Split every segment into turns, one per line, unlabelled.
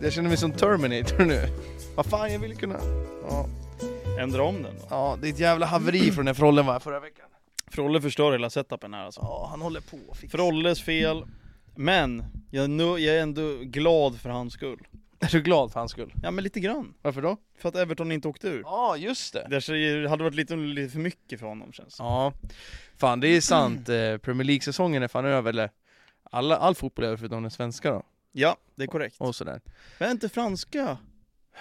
Jag känner mig som Terminator nu. Vad fan, jag vill kunna... Ja,
Ändra om den då.
ja det är ett jävla haveri från den här frollen var förra veckan.
Frolle förstör hela setupen här alltså.
Ja, han håller på och fixar.
Frolles fel, men jag är, nu, jag är ändå glad för hans skull.
Är du glad för hans skull?
Ja men lite grann.
Varför då?
För att Everton inte åkte ur.
Ja, just det.
Det så- hade varit lite, lite för mycket för honom känns det.
Ja, fan det är sant. Eh, Premier League-säsongen är fan över, eller? Alla, all fotboll är över förutom den svenska då,
Ja, det är korrekt.
och sådär.
Men inte franska?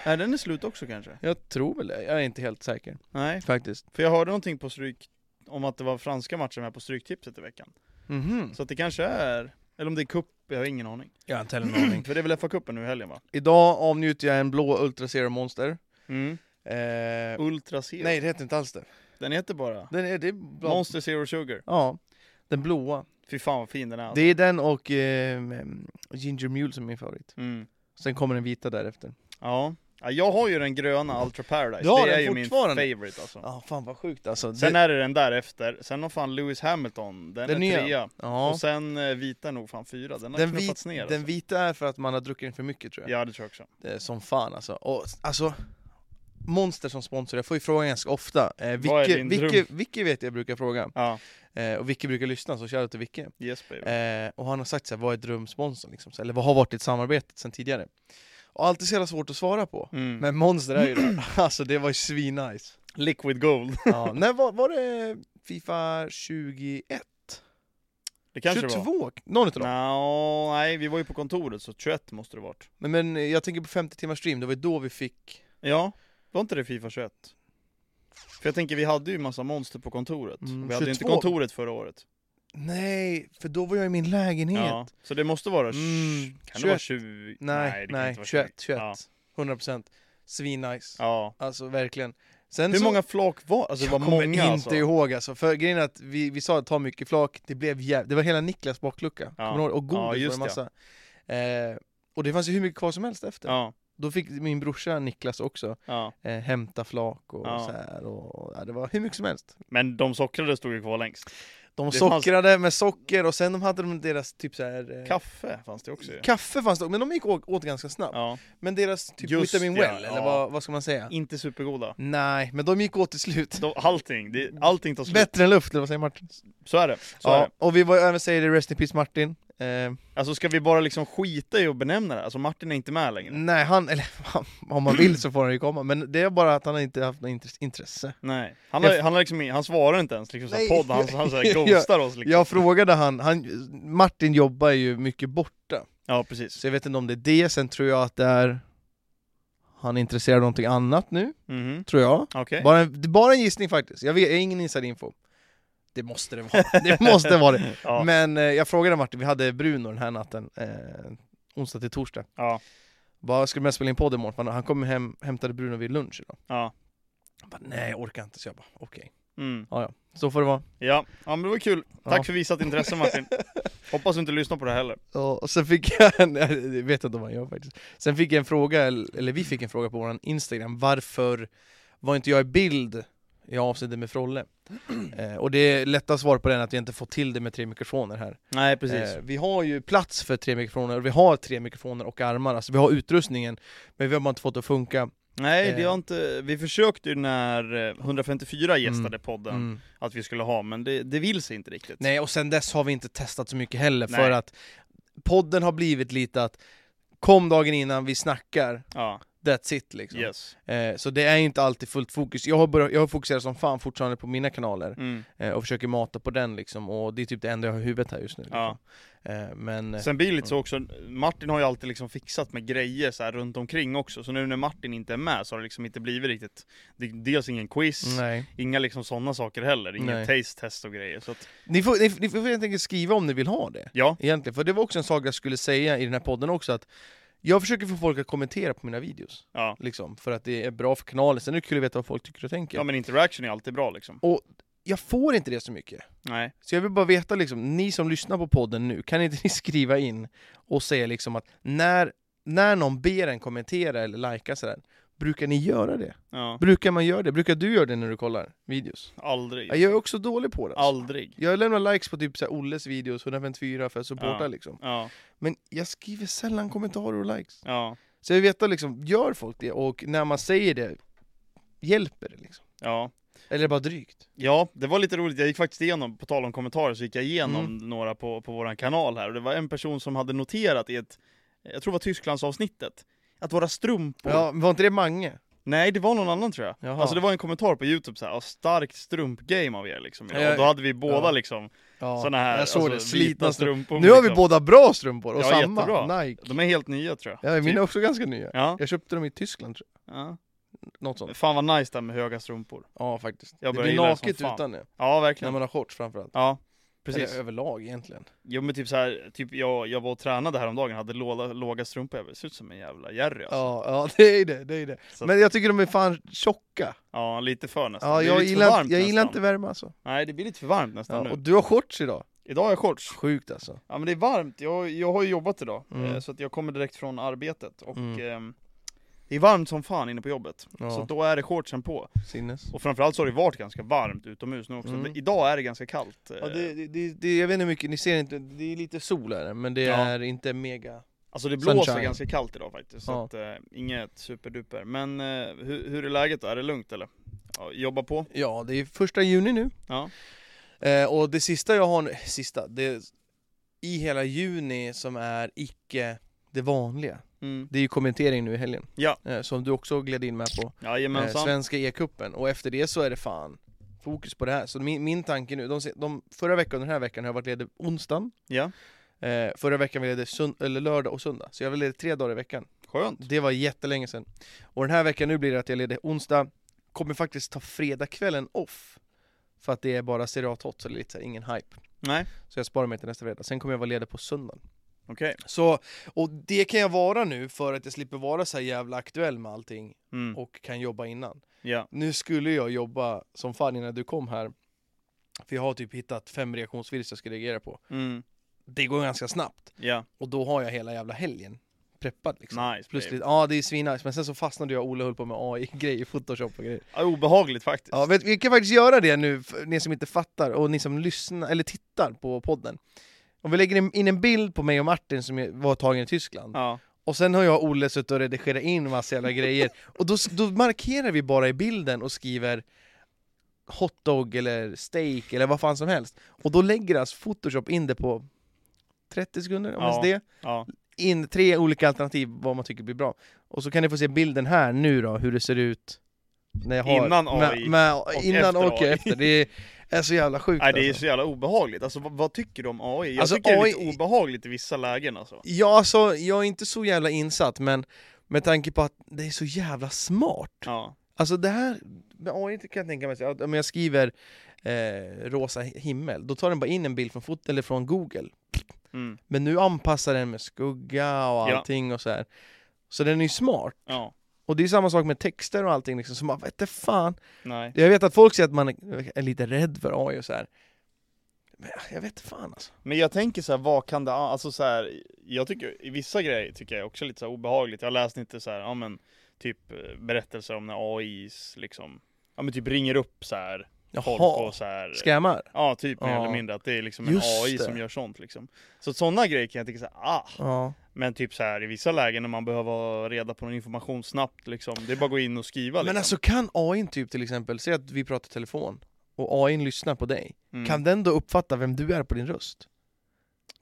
Är den är slut också kanske?
Jag tror väl det, jag är inte helt säker
Nej,
faktiskt.
för jag hörde någonting på stryk om att det var franska matcher med på Stryktipset i veckan.
Mhm.
Så att det kanske är, eller om det är cup, jag har ingen aning.
Jag har inte heller en aning.
För det är väl FA-cupen nu i helgen va?
Idag avnjuter jag en blå Ultra Zero Monster.
Mm.
Eh,
Ultra Zero.
nej, det heter inte alls det.
Den heter bara
Den är, det är bland,
Monster Zero Sugar.
Ja, den blåa.
Fy fan vad fin den är. alltså.
Det är den och eh, Ginger Mule som är min favorit.
Mm.
Sen kommer den vita därefter.
Ja. ja, jag har ju den gröna Ultra Paradise.
Du har
det är
den
ju min
fortfarande?
favorite alltså.
Ja, fan vad sjukt alltså.
Sen
Det-
är det den därefter, sen har fan Lewis Hamilton, den,
Den
är
nya.
trea.
ja.
Och sen eh, vita är nog fan fyra, den har
Den,
knuffats
vit,
ner.
den
alltså.
vita är för att man har druckit den för mycket tror jag.
Ja det tror jag också.
Eh, som fan alltså. Och, alltså Monster som sponsor, jag får ju frågan ganska ofta. Eh,
Vad är
Vicke,
din
Vicke, Vicke vet jag brukar fråga,
Ja,
eh, och Vicke brukar lyssna, så shoutout till Vicke.
yes baby.
Eh, och han har sagt så här, vad är drömsponsorn? Liksom, så här, eller vad har varit ditt samarbete sen tidigare? Och alltid så jävla svårt att svara på.
Mm.
Men Monster är ju det. Alltså det var ju svinnice.
Liquid Gold.
Ja, när var, var det Fifa 21?
Det kanske 22. det var.
22? Någon utav dem.
No, nej, vi var ju på kontoret så 21 måste det varit.
Men, men eh, jag tänker på 50 timmars stream, det var ju då vi fick...
Ja, var inte det Fifa 21? För jag tänker vi hade ju massa monster på kontoret.
Mm,
vi hade ju inte
22.
kontoret förra året.
Nej, för då var jag i min lägenhet.
Ja, så det måste vara...
Mm,
Kan det vara
21?
20?
Nej,
det kan
nej,
inte vara
21,
20.
21. 100 procent. Svinnice.
Ja.
Alltså verkligen. Sen
Hur
så,
många flak var Alltså det
jag
var
kommer
många
inte
alltså.
ihåg alltså. För grejen är att vi, vi sa att ta mycket flak, det blev jäv... Det var hela Niklas baklucka.
Ja.
Kommer du ihåg? Och godis
Ja,
var
just
det massa. Eh, och det fanns ju hur mycket kvar som helst efter.
Ja,
Då fick min brorsa Niklas också
ja.
eh, hämta flak och
Ja.
så här. Och, ja, det var hur mycket som helst.
Men de sockrade stod ju kvar längst.
De
Det fanns-
sockrade med socker och sen de hade de deras typ så här... Eh,
Kaffe fanns det också ju.
Kaffe fanns det men de gick åt, åt ganska snabbt.
Ja.
Men deras typ
Just
vitamin
det,
well, eller
ja.
vad, vad ska man säga?
Inte supergoda.
Nej, men de gick åt till slut.
De, allting, det, allting tar slut.
Bättre än luft, eller vad säger Martin?
Så är det. Så är det.
Mm. Ja, och vi var även säger det, Rest in Peace Martin. Eh,
Alltså ska vi bara liksom skita i att benämna det? Alltså Martin är inte med längre.
nej, han, eller han, om man vill så får han ju komma, men det är bara att han inte haft något intre- intresse.
Nej. Han, har,
Jag-
han, har liksom, in- han svarar inte ens liksom
Nej.
så podd, han, han så här
Jag-
ghostar oss liksom.
Jag frågade han, han, Martin jobbar ju mycket borta,
Ja precis.
så jag vet inte om det är det, sen tror jag att det är han är intresserad av någonting annat nu,
Mhm.
tror jag.
Okej.
Bara en, det är bara en gissning faktiskt, jag, vet, jag har ingen inside-info. Det måste det vara, det måste vara det.
Ja,
Men eh, jag frågade Martin, vi hade Bruno den här natten, eh, onsdag till torsdag.
ja,
Bara, ska du med spela in podd imorgon? För Han han kom hem, hämtade Bruno vid lunch idag.
ja.
Han bara, nej jag orkar inte. Så jag bara, okej.
Mm.
Ja, ja. Så får det vara.
Ja. ja, men det var kul. Tack
Ja.
för visat intresse Martin. Hoppas du inte lyssnar på det heller.
Och, och sen fick jag en, jag vet inte om han gör faktiskt. Sen fick jag en fråga, eller eller vi fick en fråga på våran Instagram, varför var inte jag i bild i avsnittet med Frolle? Eh, och det lätta svaret på den är att vi inte fått till det med tre mikrofoner här.
Nej
Eh, vi har ju plats för tre mikrofoner, och vi har tre mikrofoner och armar, alltså vi har utrustningen, men vi har bara inte fått det att funka.
Nej, det
eh.
har inte... Vi försökte ju när eh, 154 gästade
Mm.
podden
Mm.
att vi skulle ha, men det, det vill sig inte riktigt.
Nej, och sen dess har vi inte testat så mycket heller,
Nej.
för att podden har blivit lite att kom dagen innan vi snackar,
Ja,
that's it liksom.
yes.
Eh, så det är inte alltid fullt fokus. Jag har, börjat, jag har fokuserat som fan fortfarande på mina kanaler
Mm.
eh, och försöker mata på den liksom, och det är typ det enda jag har i huvudet här just nu. Liksom.
Ja.
Eh, men eh,
Sen blir det lite så också, Martin har ju alltid liksom fixat med grejer så här runt omkring också, så nu när Martin inte är med så har det liksom inte blivit riktigt det, är Dels ingen quiz,
nej.
inga liksom sådana saker heller, inga
Nej.
taste test och grejer så att,
Ni får, ni, ni får helt enkelt skriva om ni vill ha det.
ja,
Egentligen, för det var också en sak jag skulle säga i den här podden också att jag försöker få folk att kommentera på mina videos,
ja.
liksom, för att det är bra för kanalen. Sen är det kul att veta vad folk tycker och tänker.
Ja men interaction är alltid bra liksom.
jag får inte det så mycket.
Nej.
Så jag vill bara veta, liksom, ni som lyssnar på podden nu, kan inte ni skriva in och säga liksom att när, när någon ber en kommentera eller likea sådär, brukar ni göra det?
Ja.
Brukar man göra det? Brukar du göra det när du kollar videos? Ja,
Aldrig.
Jag är också dålig på det. Alltså.
Aldrig.
Jag lämnar likes på typ så här Olles videos, 154 för att supporta
Ja.
liksom.
Ja,
Men jag skriver sällan kommentarer och likes.
ja.
Så jag vill veta liksom, gör folk det? Och när man säger det, hjälper det liksom?
Ja.
Eller är det bara drygt?
Ja, det var lite roligt. Jag gick faktiskt igenom, på tal om kommentarer, så gick jag igenom
Mm.
några på, på våran kanal här. Och det var en person som hade noterat i ett, jag tror det var Tysklandsavsnittet, att våra strumpor...
Ja, men var inte det Mange?
Nej, det var någon annan tror jag.
Jaha.
Alltså det var en kommentar på Youtube så här, "Ja, starkt strumpgame av er liksom.
Ja,
Och då hade vi båda
ja.
liksom
Ja,
såna här
jag såg
alltså,
det, slitna
vita
strumpor.
strumpor.
Nu har vi
liksom.
båda bra strumpor och
Ja,
samma,
jättebra.
Nike.
De är helt nya tror jag.
Ja, mina
Typ.
är också ganska nya.
Ja.
Jag köpte dem i Tyskland tror
ja.
jag. Något sånt.
Fan vad nice det här med höga strumpor.
Ja faktiskt.
Jag
det
börjar
blir
gilla det
naket
som fan.
utan det.
Ja,
När
verkligen.
man har shorts framförallt.
Ja,
Precis.
precis.
Eller överlag egentligen.
Jo men typ så här, typ jag, jag var och tränade häromdagen, hade låga, låga strumpor, jag ser ut som en jävla Jerry alltså.
Ja, ja det är det. det, är det.
Så-
Men jag tycker de är fan tjocka.
Ja, lite för nästan.
Ja,
Det blir
jag,
lite för
gillar,
varmt
inte- jag gillar
nästan.
inte värme alltså.
Nej, det blir lite för varmt nästan
Ja, och
nu.
du har shorts idag.
Idag har jag shorts.
Sjukt alltså.
Ja men det är varmt, jag, jag har ju jobbat idag,
Mm.
eh, så att jag kommer direkt från arbetet och
Mm.
ehm, det är varmt som fan inne på jobbet, så
Ja,
då är det shortsen på.
sinnes.
Och framförallt så har det varit ganska varmt utomhus nu också,
Mm.
Det- idag är det ganska kallt. eh.
Ja, det, det- det, det, jag vet inte hur mycket, ni ser inte, det är lite sol här men det
Ja.
är inte mega...
Alltså det blåser
Sunshine.
ganska kallt idag faktiskt, så
Ja.
att, eh, inget superduper. Men eh, hur, hur är läget då? Är det lugnt eller? Ja, jobba på?
Ja, det är första juni nu.
Ja.
Eh, och det sista jag har, nu- sista, det i hela juni som är icke det vanliga.
Mm.
Det är ju kommentering nu i helgen.
Ja.
Eh, som du också gled in med på. Eh,
Jajamensan.
svenska E-cupen. Och efter det så är det fan fokus på det här. Så min, min tanke nu, de, se- de, förra veckan och den här veckan har jag varit ledig onsdagen.
Ja,
Eh, förra veckan var jag ledig sund, eller lördag och söndag. Så jag var ledig tre dagar i veckan.
skönt.
Det var jättelänge sedan. Och den här veckan nu blir det att jag är ledig onsdag. Kommer faktiskt ta fredagskvällen off. För att det är bara Serie A Tot, så det är lite så här, ingen hype.
Nej,
Så jag sparar mig till nästa fredag, sen kommer jag vara ledig på söndagen.
okej.
Så, och det kan jag vara nu för att jag slipper vara så här jävla aktuell med allting
Mm.
och kan jobba innan.
Ja,
Nu skulle jag jobba som fan innan du kom här. För jag har typ hittat fem reaktionsvideos jag ska reagera på.
mm.
Det går ganska snabbt.
ja,
Och då har jag hela jävla helgen preppad liksom.
nice.
Plus
babe.
lite, ja det är svinnice, men sen så fastnade jag och Ola höll på med AI-grejer, Photoshop och grejer.
Ja, obehagligt faktiskt.
Ja, vet, vi kan faktiskt göra det nu, för ni som inte fattar och ni som lyssnar eller tittar på podden. Om vi lägger in en bild på mig och Martin som ju var tagen i Tyskland,
Ja.
och sen har jag och Olle suttit och redigerat in massa jävla grejer, och då, då markerar vi bara i bilden och skriver hotdog eller steak eller vad fan som helst. Och då lägger alltså Photoshop in det på 30 sekunder, om
Ja.
ens det
ja.
in tre olika alternativ vad man tycker blir bra. Och så kan ni få se bilden här nu då, hur det ser ut när jag har,
Innan AI
med, med, innan
efter
och
AI.
efter. Det är, är så jävla sjukt
Nej, det är
alltså.
så jävla obehagligt. Alltså vad, vad tycker du om AI? Jag
Alltså,
tycker det är
AI
lite obehagligt i vissa lägen alltså.
Ja alltså, jag är inte så jävla insatt men med tanke på att det är så jävla smart.
Ja,
Alltså det här, med AI kan jag tänka mig, så- ja, om jag skriver eh, rosa himmel, då tar den bara in en bild från, fot- eller från Google.
mm.
Men nu anpassar den med skugga och
Ja.
allting och så här. Så den är ju smart.
ja,
Och det är samma sak med texter och allting liksom, så man vet fan.
nej.
Jag vet att folk säger att man är lite rädd för AI och så här. Men jag vet fan alltså.
Men jag tänker så här, vad kan det, alltså så här, jag tycker, i vissa grejer tycker jag också lite så här obehagligt. Jag läste inte så här, ja men, typ eh, berättelser om när AI liksom, ja men typ ringer upp så här, folk
Jaha,
och så här.
skämmar?
Ja, typ mer
Ja.
eller mindre att det är liksom en
Just
AI
det.
som gör sånt liksom. Så sådana grejer kan jag tycka såhär, ah!
Ja.
Men typ så här i vissa lägen när man behöver ha reda på någon information snabbt liksom, det är bara att gå in och skriva liksom.
Men alltså kan AI typ till exempel, säg att vi pratar telefon och AI lyssnar på dig,
Mm.
kan den då uppfatta vem du är på din röst?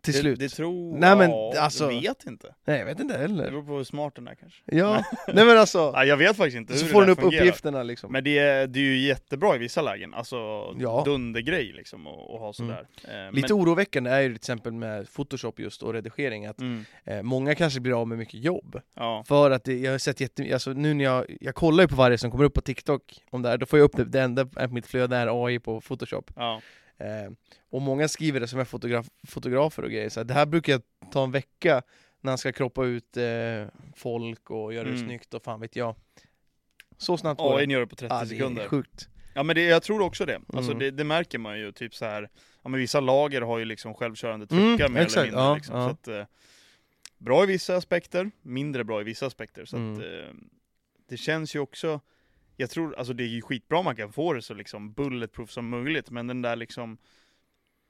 Till
det,
slut?
Det tror
Nej, men,
jag,
alltså-
jag vet inte.
Nej jag vet inte
Det
heller.
beror på hur smart den är kanske.
Ja, nej men alltså.
Ja, jag vet faktiskt inte hur
Så
det
får den
där
upp
fungerar.
uppgifterna liksom.
Men det är, det är ju jättebra i vissa lägen, alltså
Ja. Mm.
dundergrej liksom att att ha sådär. Eh,
Lite oråväckande är ju till exempel med Photoshop just och redigering att
men, mm,
eh, många kanske blir av med mycket jobb.
ja,
För att det, jag har sett jättemycket, alltså nu när jag, jag kollar ju på varje som kommer upp på TikTok om det här, då får jag upp det, det enda på mitt flöde är AI på Photoshop.
ja,
Eh, och många skriver det som är fotograf, fotografer och grejer, så här, det här brukar jag ta en vecka när han ska kroppa ut eh, folk och göra det
Mm.
snyggt och fan vet jag. Så snabbt går
AI
det.
gör det på 30
Ja, det är
sekunder.
sjukt.
Ja men det, jag tror också det. Alltså
Mm.
det, det märker man ju, typ så här. ja men vissa lager har ju liksom självkörande
Mm,
truckar mer eller
exakt,
mindre
ja,
liksom.
ja.
Så att, eh, bra i vissa aspekter, mindre bra i vissa aspekter. Så
Mm.
att, eh, det känns ju också, jag tror, alltså det är ju skitbra om man kan få det så liksom bulletproof som möjligt, men den där liksom,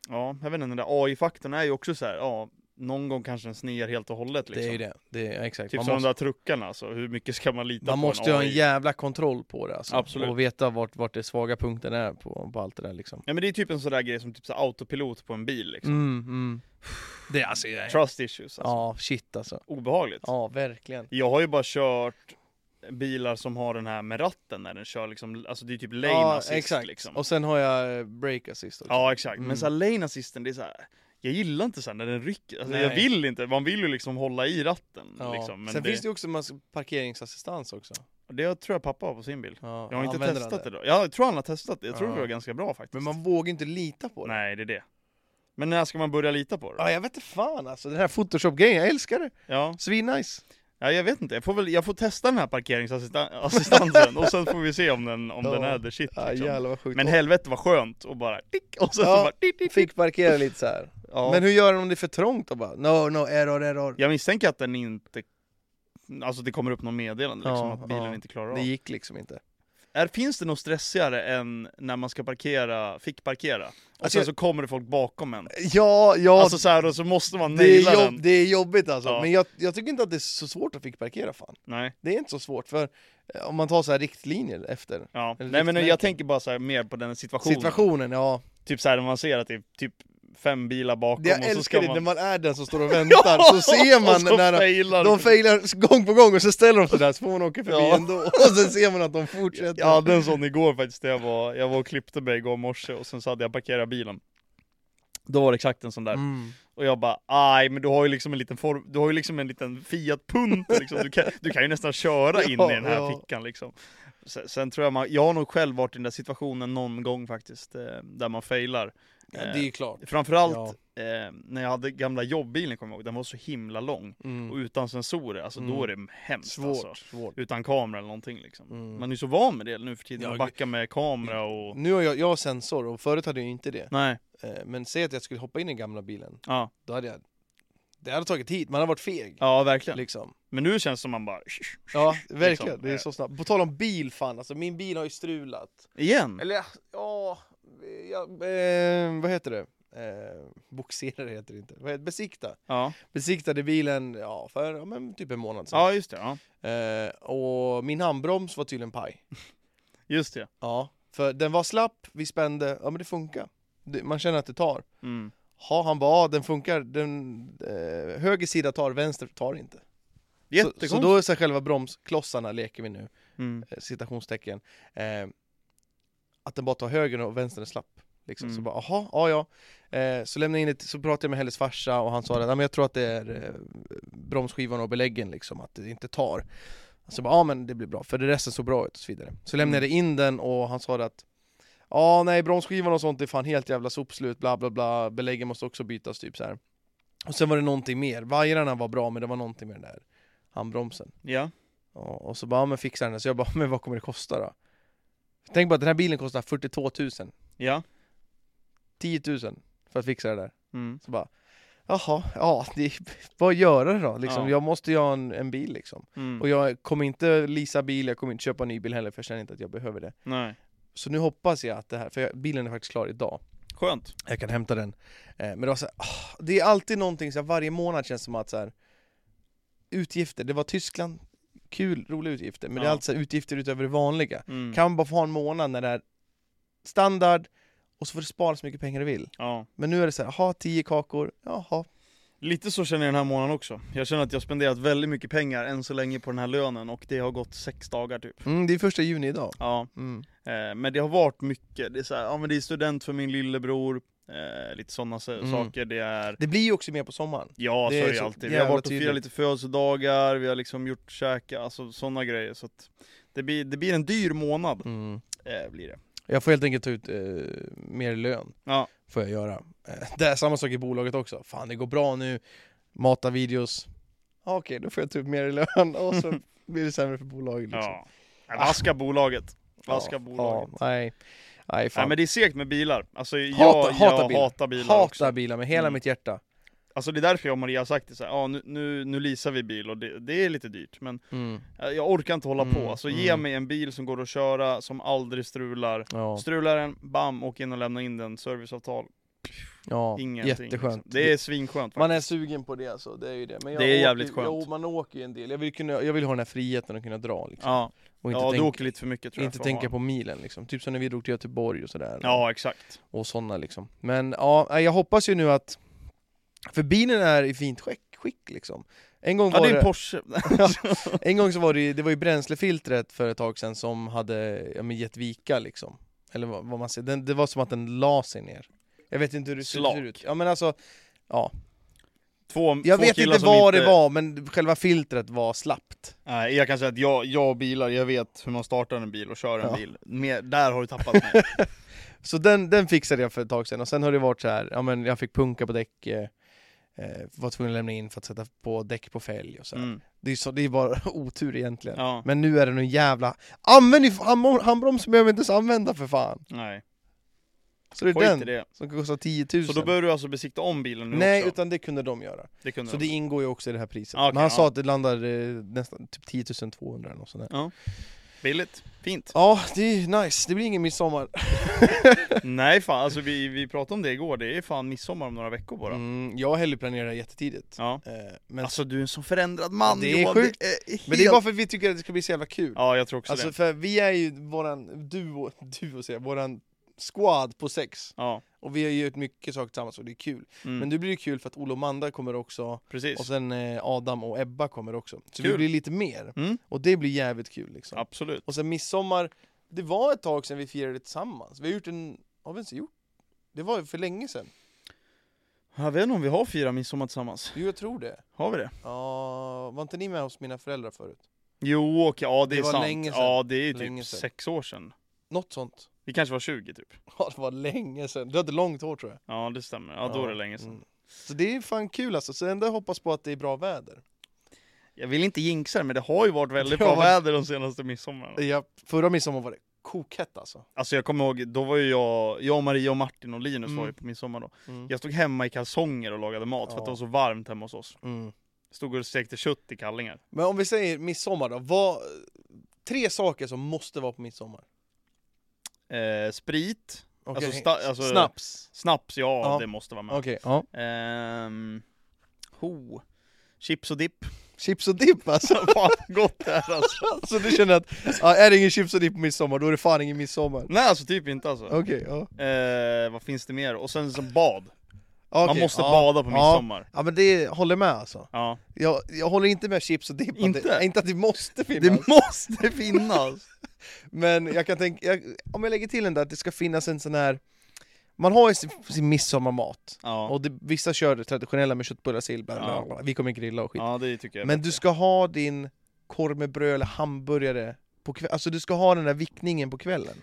ja jag vet inte, den där AI-faktorn är ju också så här, ja någon gång kanske den snear helt och hållet liksom.
Det är ju det, det är, ja, exakt.
Typ
man
som
måste,
de där truckarna alltså, hur mycket ska man lita
man
på
måste
en
ju ha
AI?
en jävla kontroll på det alltså.
Absolut.
Och veta vart, vart det svaga punkten är på, på allt det där liksom.
Ja men det är typ en sån där grej som typ så här autopilot på en bil liksom.
Mm, mm. Det är alltså, det är,
Trust issues alltså.
ja shit alltså.
Obehagligt.
Ja verkligen.
Jag har ju bara kört bilar som har den här med ratten när den kör liksom, alltså det är typ lane
ja,
assist
exakt.
liksom.
Och sen har jag eh, break assist också.
Ja exakt,
Mm.
men så här lane assisten det är så här. Jag gillar inte så här när den rycker, alltså, jag
Nej.
vill inte, man vill ju liksom hålla i ratten
Ja.
liksom. Men
sen
det,
finns det ju också en massa parkeringsassistans också.
det tror jag pappa har på sin bil.
Ja,
Jag har inte
använder han
testat det då. Jag tror han har testat det, jag tror
Ja.
det var ganska bra faktiskt.
Men man vågar inte lita på det.
Nej det är det. Men när ska man börja lita på det?
Ja, jag vet inte fan alltså, den här photoshop-grejen, jag älskar det!
Ja,
Svinnice!
ja jag vet inte, jag får väl, jag får testa den här parkeringsassistansen och sen får vi se om den, om
Ja.
den är the shit
Ja,
liksom.
jävlar vad sjukt.
Men helvete vad skönt och bara tick, och sen
Ja,
så bara tick, tick, tick.
Fick parkera lite så här.
Ja.
Men hur gör den om det är för trångt och bara no, no, error, error?
Jag misstänker att den inte, alltså det kommer upp någon meddelande liksom
Ja,
att bilen
ja.
inte klarar av.
Det gick liksom inte.
Är, finns det något stressigare än när man ska parkera, fick parkera? Och
Alltså,
sen
jag-
så kommer det folk bakom en.
Ja, ja,
Alltså så här, och så måste man
det,
naila
är jobb,
den.
det är jobbigt alltså.
Ja.
Men jag, jag tycker inte att det är så svårt att fick parkera fan.
Nej,
Det är inte så svårt, för eh, om man tar så här riktlinjer efter
ja.
Eller
Nej men
riktmärken.
jag tänker bara så här, mer på den situationen.
situationen, ja.
Typ så här när man ser att det är typ fem bilar bakom
Det jag
och så ska
älskar det när
man...
man är den som står och väntar, så ser
och så
man när de-
failar
de failar gång på gång och så ställer de sig där så får man åka förbi
Ja.
ändå och sen ser man att de fortsätter.
Jag hade en sån igår faktiskt, där jag var, jag var och klippte mig igår morse och sen så hade jag parkerat bilen. Då var det exakt en sån där.
Mm.
Och jag bara, aj men du har ju liksom en liten form, du har ju liksom en liten Fiat Punto liksom. du, kan, du kan ju nästan köra in
Ja,
i den här
ja.
fickan liksom. Sen, sen tror jag man, jag har nog själv varit i den där situationen någon gång faktiskt, eh, där man failar.
Ja, det är ju klart.
Framförallt eh, när jag hade gamla jobbbilen kommer jag ihåg, den var så himla lång.
Mm.
Och utan sensorer, alltså då är det hemskt
Svårt,
alltså.
svårt.
Utan kamera eller någonting liksom.
Mm.
Man är ju så van med det nu för tiden,
Ja,
att backa med kamera och...
Nu har jag, jag har sensor och förut hade jag ju inte det.
Nej,
Eh, Men säg att jag skulle hoppa in i den gamla bilen,
ja,
då hade jag... Det hade tagit tid, man hade varit feg.
ja verkligen.
Liksom.
Men nu känns det som man bara...
Ja, verkligen.
Liksom,
Det är
eh.
så snabbt. På tal om bil fan, alltså min bil har ju strulat.
Igen!
Eller ja, ja eh, vad heter det? Eh, boxerare heter det inte. Vad heter, besikta.
Ja,
Besiktade bilen ja, för ja, men typ en månad sedan.
ja just det. Ja.
Eh, och min handbroms var tydligen paj.
Just det.
Ja, för den var slapp, vi spände, ja men det funkar. Det, man känner att det tar.
Mm.
Ja, han bara, ja, den funkar, den eh, höger sida tar, vänster tar inte. Så,
Jättekonstigt.
så då är så här själva bromsklossarna, leker vi nu,
mm.
eh, citationstecken, eh, att den bara tar höger och vänster är slapp. Liksom.
Mm.
Så bara, aha, ja ja. Eh, så lämnade jag in ett, så pratade jag med hennes farsa och han sa att men jag tror att det är eh, bromsskivan och beläggen liksom, att det inte tar. Så bara, ja men det blir bra, för det resten såg bra ut och så vidare. Så lämnade jag in den och han sa att Ja nej bromsskivan och sånt är fan helt jävla sopslut bla bla bla Beläggen måste också bytas typ så här. Och sen var det någonting mer, vajrarna var bra men det var någonting med den där handbromsen
Ja.
Ja, och så bara, ja, men fixar den det. Så jag bara, men vad kommer det kosta då? Tänk bara att den här bilen kostar 42 000,
Ja.
10 000 för att fixa det där.
Mm.
Så bara, jaha, ja, det, vad göra då? Liksom,
Ja.
Jag måste ju ha en, en bil liksom.
Mm.
Och jag kommer inte leasa bil, jag kommer inte köpa en ny bil heller för jag känner inte att jag behöver det.
Nej.
Så nu hoppas jag att det här, för jag, bilen är faktiskt klar idag.
Skönt.
Jag kan hämta den. Eh, men det var så här, ah, det är alltid någonting så här, varje månad känns som att så här, utgifter, det var Tyskland, kul, roliga utgifter, men det är
Ja.
alltid så här, utgifter utöver det vanliga.
Mm.
Kan man bara få ha en månad när det är standard och så får du spara så mycket pengar du vill.
Ja.
Men nu är det så här, ha 10 kakor, jaha.
Lite så känner jag den här månaden också. Jag känner att jag spenderat väldigt mycket pengar än så länge på den här lönen och det har gått sex dagar typ.
Mm, det är första juni idag.
Ja.
Mm.
Eh, men det har varit mycket. Det är, så här, ja, men det är student för min lillebror, eh, lite sådana
Mm.
saker. Det är
Det blir ju också mer på sommaren.
Ja,
Det
så
är
är det
så
alltid. Vi har
jävla
varit och
tydligt.
firat lite födelsedagar, vi har liksom gjort käka, alltså sådana grejer. Så att det, blir, det blir en dyr månad, eh, blir det.
Mm. Jag får helt enkelt ta ut eh, mer lön,
Ja,
får jag göra. Eh, det är samma sak i bolaget också, fan det går bra nu, mata videos. Ja, Okej, då får jag ta ut mer i lön och så blir det sämre för bolaget liksom.
ja. Nej, Äh, Vaska bolaget. Vaska bolaget.
Ja, nej, nej fan.
Nej men det är segt med bilar. Alltså jag,
Hata- hata
jag
bilar.
hatar bilar
Hatar
också.
bilar med hela
Mm.
mitt hjärta.
Alltså det är därför jag och Maria har sagt det så här, ja nu, nu, nu leasar vi bil och det, det är lite dyrt men eh, jag orkar inte hålla
Mm,
på. Alltså ge
mm.
mig en bil som går att köra, som aldrig strular.
Ja.
Strular den, bam, åk in och lämna in den, serviceavtal.
Ja,
Ingenting.
jätteskönt.
Liksom. Det är svinskönt
Man
faktiskt.
är sugen på det alltså, det är ju det. Men jag
Det är
åker,
jävligt skönt.
Jag, man åker ju en del, jag vill, kunna, jag vill ha den här friheten att kunna dra liksom.
Ja,
Och inte,
ja du
tänk,
åker lite för mycket tror jag.
inte
för att ha
tänka
en.
på milen liksom. Typ som när vi drog till Göteborg och sådär.
Ja, exakt.
Och sådana liksom. Men ja, nej, jag hoppas ju nu att... För bilen är i fint skick, skick liksom. En gång,
Ja,
var
det är en
det,
Porsche.
en gång så var det ju, det var ju bränslefiltret för ett tag sedan som hade ja, men gett vika liksom. Eller vad, vad man säger, den, det var som att den la sig ner. Jag vet inte hur det ser
Slak.
ser ut. Ja men alltså,
Två,
jag
två
vet
killar
inte
som
vad det var men själva filtret var slappt.
Nej, jag kan säga att jag, jag och bilar, jag vet hur man startar en bil och kör en
Ja.
bil. Mer, där har du tappat mig.
Så den, den fixade jag för ett tag sedan och sen har det varit så här, ja men jag fick punka på däck, eh, eh, var tvungen att lämna in för att sätta på däck på fälg och så här.
Mm.
Det är, så, det är bara otur egentligen.
Ja,
Men nu är det någon jävla... Använd ju handbroms, handbroms behöver vi inte ens använda för fan!
nej.
Så det är
Skit i
den
det.
som kostar 10 000.
Så då behöver du alltså besikta om bilen nu
Nej,
också?
utan det kunde de göra.
det kunde
Så
de.
det ingår ju också i det här priset.
Ah, okej,
Men han sa
ja.
att det landar eh, nästan typ 10 200 eller något sånt där.
Billigt. Fint.
Ja, det är ju nice. Det blir ingen midsommar.
Nej fan, alltså vi, vi pratade om det igår, det är fan midsommar om några veckor bara.
Mm, jag hellre det jättetidigt.
Ja.
Eh, men,
Alltså du är en sån förändrad man
Det är
Johan,
sjukt.
Det är helt...
men det är bara för att vi tycker att det ska bli så jävla kul.
Ja jag tror också
alltså
det.
för vi är ju våran duo, duo säger jag, våran squad på sex.
Ja,
Och vi har ju gjort mycket saker tillsammans och det är kul.
mm,
Men nu blir det kul för att Ola och Manda kommer också
precis.
och sen eh, Adam och Ebba kommer också. Så
Kul.
det blir lite mer.
Mm.
Och det blir jävligt kul liksom.
Absolut.
Och sen midsommar, det var ett tag sedan vi firade tillsammans. Vi har gjort en, har vi ens gjort? Det var ju för länge sedan.
Jag vet inte om vi har fyra midsommar tillsammans.
Jo jag tror det.
Har vi det?
Ja, var inte ni med hos mina föräldrar förut?
Jo, okej, ja det,
Det
är
var
sant.
länge sedan.
ja det är ju typ
Länge sedan.
sex år sedan.
Något sånt.
Vi kanske var 20 typ.
Ja det var länge sedan. Du hade långt hår tror jag.
Ja det stämmer, ja då är det länge sedan.
Mm. Så det är fan kul alltså. Så ändå hoppas på att det är bra väder.
Jag vill inte jinxa det men det har ju varit väldigt
Det
bra
har varit-
väder de senaste midsommarna.
Ja, förra midsommar var det kokhett alltså.
Alltså jag kommer ihåg, då var ju jag, jag, Maria och Martin och Linus
Mm.
var ju på midsommar då.
Mm.
Jag stod hemma i kalsonger och lagade mat för
Ja.
att det var så varmt hemma hos oss.
Mm.
Stod och stekte kött i kallingar.
Men om vi säger midsommar då, vad, tre saker som måste vara på midsommar?
Eh, sprit,
Okej.
Alltså sta- alltså-
Snaps?
snaps, ja,
Ja.
det måste vara med.
Okej, ja.
Ehm, ho. Chips och dipp.
Chips och dipp alltså?
Fan gott det här alltså.
så du känner att, ja, är det ingen chips och dipp på midsommar, då är det fan ingen midsommar?
Nej alltså typ inte alltså.
Okej, ja.
Eh, vad finns det mer? Och sen som bad. Man
Okej,
måste
ja.
bada på midsommar.
Ja men det håller med alltså.
Ja.
Jag, jag håller inte med chips och dipp, att
Inte?
Det, inte att det måste
Det
finnas.
måste finnas!
men jag kan tänka, jag, om jag lägger till en där, att det ska finnas en sån här, man har ju sin, sin midsommarmat.
Ja.
Och det, vissa kör det traditionella med köttbullar, sill, bla, bla,
Ja.
bla. vi kommer grilla och skit.
ja, det tycker jag. är
Men
bättre.
du ska ha din korv med bröd eller hamburgare på kvällen, alltså du ska ha den där vickningen på kvällen.